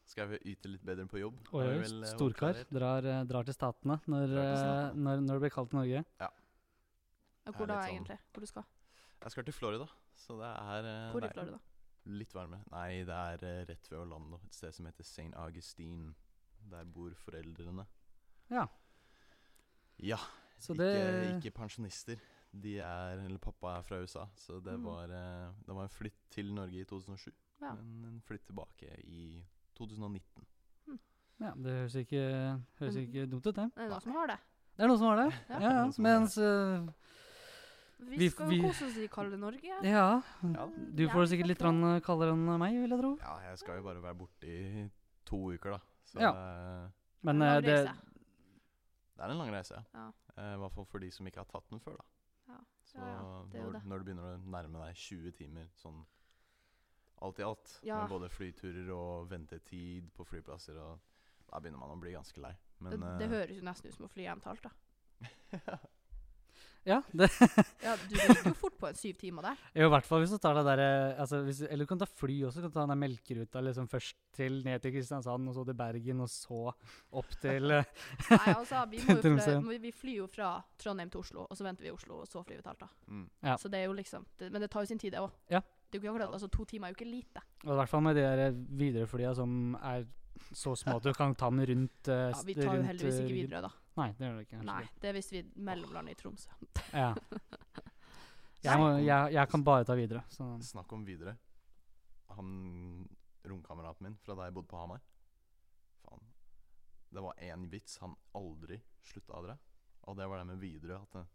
Speaker 2: skal jeg vel yte litt bedre på jobb.
Speaker 1: Oi,
Speaker 2: er
Speaker 1: oi,
Speaker 2: vel, eh,
Speaker 1: storkar.
Speaker 2: oppklarert.
Speaker 1: Drar, eh, drar til Statene når,
Speaker 2: Drar til
Speaker 1: eh,
Speaker 2: Statene.
Speaker 1: når, når det blir kaldt i Norge.
Speaker 3: Ja,
Speaker 2: Det er
Speaker 3: Hvor da,
Speaker 2: litt sånn-
Speaker 3: egentlig? Hvor du skal?
Speaker 2: Jeg skal til Florida, så det er eh,
Speaker 3: Hvor i
Speaker 2: nei,
Speaker 3: Florida?
Speaker 2: Litt varme. Nei, det er eh, rett ved Orlando, et sted som heter St. Augustine. Der bor foreldrene.
Speaker 1: Ja.
Speaker 2: Ja.
Speaker 1: Så
Speaker 2: ikke,
Speaker 1: det
Speaker 2: ikke pensjonister. De er, eller Pappa er fra USA, så det,
Speaker 3: Mm.
Speaker 2: var, eh, det var en flytt til Norge i 2007.
Speaker 3: Ja.
Speaker 2: Men en flytt tilbake i 2019.
Speaker 1: ja, Det høres ikke, høres
Speaker 3: Men-
Speaker 1: ikke dumt ut, det.
Speaker 3: Er det
Speaker 2: Nei.
Speaker 3: noen som har det?
Speaker 1: Det er noen som har det. Ja,
Speaker 3: Ja.
Speaker 1: ja.
Speaker 2: Noen som har det.
Speaker 1: Mens eh,
Speaker 3: Vi,
Speaker 1: Vi-
Speaker 3: skal
Speaker 1: vi-
Speaker 3: jo kose oss i kalde Norge.
Speaker 1: eh, Ja,
Speaker 2: Ja,
Speaker 1: du får det sikkert litt rann, eh, kaldere enn meg, vil jeg tro.
Speaker 2: ja, jeg skal jo bare være borte i to uker, da. Så eh,
Speaker 1: Men eh, det,
Speaker 2: det er en lang reise. ja.
Speaker 3: Ja.
Speaker 2: Eh, I hvert fall for de som ikke har tatt den før, da. Så
Speaker 3: Ja, ja, det er jo
Speaker 2: når,
Speaker 3: det.
Speaker 2: når du begynner å nærme deg 20 timer sånn alt i alt,
Speaker 3: Ja.
Speaker 2: med både flyturer og ventetid på flyplasser og Da begynner man å bli ganske lei. Men
Speaker 3: det,
Speaker 2: eh,
Speaker 3: det høres jo nesten ut som å fly hjem til Alta.
Speaker 1: ja, det
Speaker 3: Ja, du gikk jo fort på en syv timer der.
Speaker 1: Jo, i hvert fall hvis du tar det der eh, altså hvis, Eller du kan ta fly også. Du kan ta den der melkeruta liksom først til ned til Kristiansand, og så til Bergen, og så opp til eh,
Speaker 3: Nei, altså, vi, må jo
Speaker 1: Til
Speaker 3: fly,
Speaker 1: Tromsø.
Speaker 3: må- vi flyr jo fra Trondheim til Oslo, og så venter vi i Oslo, og så flyr vi til Alta.
Speaker 2: mm.
Speaker 1: Ja.
Speaker 3: Så det er jo liksom det, Men det tar jo sin tid, det òg.
Speaker 1: Ja.
Speaker 3: Det er jo ikke akkurat, altså, to timer er jo ikke lite.
Speaker 1: Og i hvert fall med de der videreflya som er så små at du kan ta den rundt eh,
Speaker 3: Ja, vi
Speaker 1: st-
Speaker 3: tar jo
Speaker 1: rundt,
Speaker 3: heldigvis
Speaker 1: eh,
Speaker 3: ikke
Speaker 1: ryggen.
Speaker 3: videre, da.
Speaker 1: Nei, det gjør du ikke. kanskje
Speaker 3: Nei,
Speaker 1: ikke.
Speaker 3: det er hvis vi mellomlander i Tromsø.
Speaker 1: Ja. Jeg, må, jeg, jeg kan bare ta videre. Så.
Speaker 2: Snakk om videre. Han romkameraten min fra da jeg bodde på Hamar Faen. Det var én vits han aldri slutta å dra, og det var det med Widerøe. At det,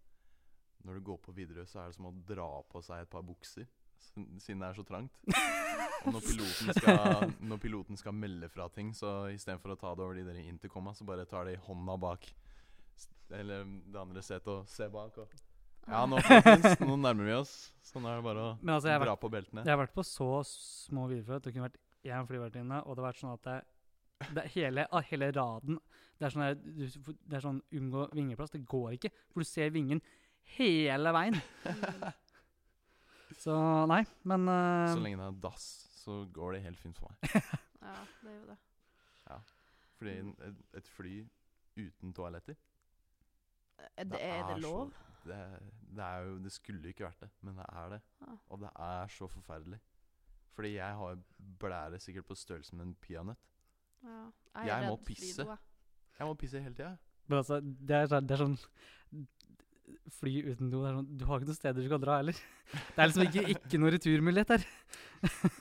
Speaker 2: når du går på Widerøe, så er det som å dra på seg et par bukser, s- siden det er så trangt. Og når piloten skal, når piloten skal melde fra ting, så istedenfor å ta det over de der i intercoma, så bare tar de hånda bak s- Eller det andre setet og ser bak og Ja, nå, folkens, nå nærmer vi oss. Sånn er det bare å
Speaker 1: Men altså, jeg har,
Speaker 2: Dra
Speaker 1: vært,
Speaker 2: på beltene.
Speaker 1: jeg har vært på så små viderefly at det kunne vært én flyvertinne, og det har vært sånn at det, det er hele, ah, hele raden Det er sånn, der, du, det er sånn unngå vingeplass. Det går ikke, for du ser vingen hele veien. Så nei, men eh,
Speaker 2: Så lenge det er dass, så går det helt fint for meg.
Speaker 3: Ja, det er jo det.
Speaker 2: Fordi en- et, et fly uten toaletter
Speaker 3: Er det, er det
Speaker 2: så-
Speaker 3: lov?
Speaker 2: det, er- det er jo Det skulle ikke vært det, men det er det.
Speaker 3: Ja.
Speaker 2: Og det er så forferdelig. Fordi jeg har blære sikkert på størrelse med en peanøtt.
Speaker 3: Ja.
Speaker 2: Jeg
Speaker 3: er
Speaker 2: må
Speaker 3: redd for de
Speaker 2: pisse.
Speaker 3: doa.
Speaker 2: Jeg må pisse hele tida.
Speaker 1: Men altså, det er, sånn- det er sånn Fly uten do. Det er sånn, du har ikke noen steder du kan dra heller. Det er liksom ikke, ikke noen returmulighet der.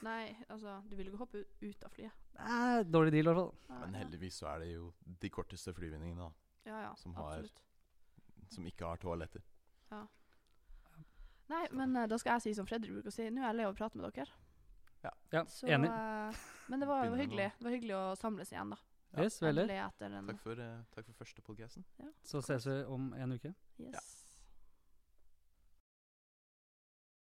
Speaker 3: Nei, altså, du vil jo ikke hoppe u- ut av flyet.
Speaker 1: Nei, Dårlig deal, i hvert fall.
Speaker 3: Nei,
Speaker 2: Men
Speaker 3: Ah, ja.
Speaker 2: heldigvis så er det jo de korteste flyvningene da,
Speaker 3: ja, ja,
Speaker 2: som har-
Speaker 3: absolutt.
Speaker 2: som ikke har toaletter.
Speaker 3: Nei, men eh, da skal jeg si som Fredrik bruker å si, nå er jeg lei av å prate med dere.
Speaker 1: Ja,
Speaker 3: Så,
Speaker 1: Enig.
Speaker 3: eh, men det var jo
Speaker 2: Begynner nå.
Speaker 3: hyggelig. Det var hyggelig å samles igjen, da.
Speaker 2: ja,
Speaker 1: Yes, veldig.
Speaker 3: Endelig etter en
Speaker 2: Takk for, eh, takk for første podcasten.
Speaker 1: Så ses vi om en uke.
Speaker 3: Yes.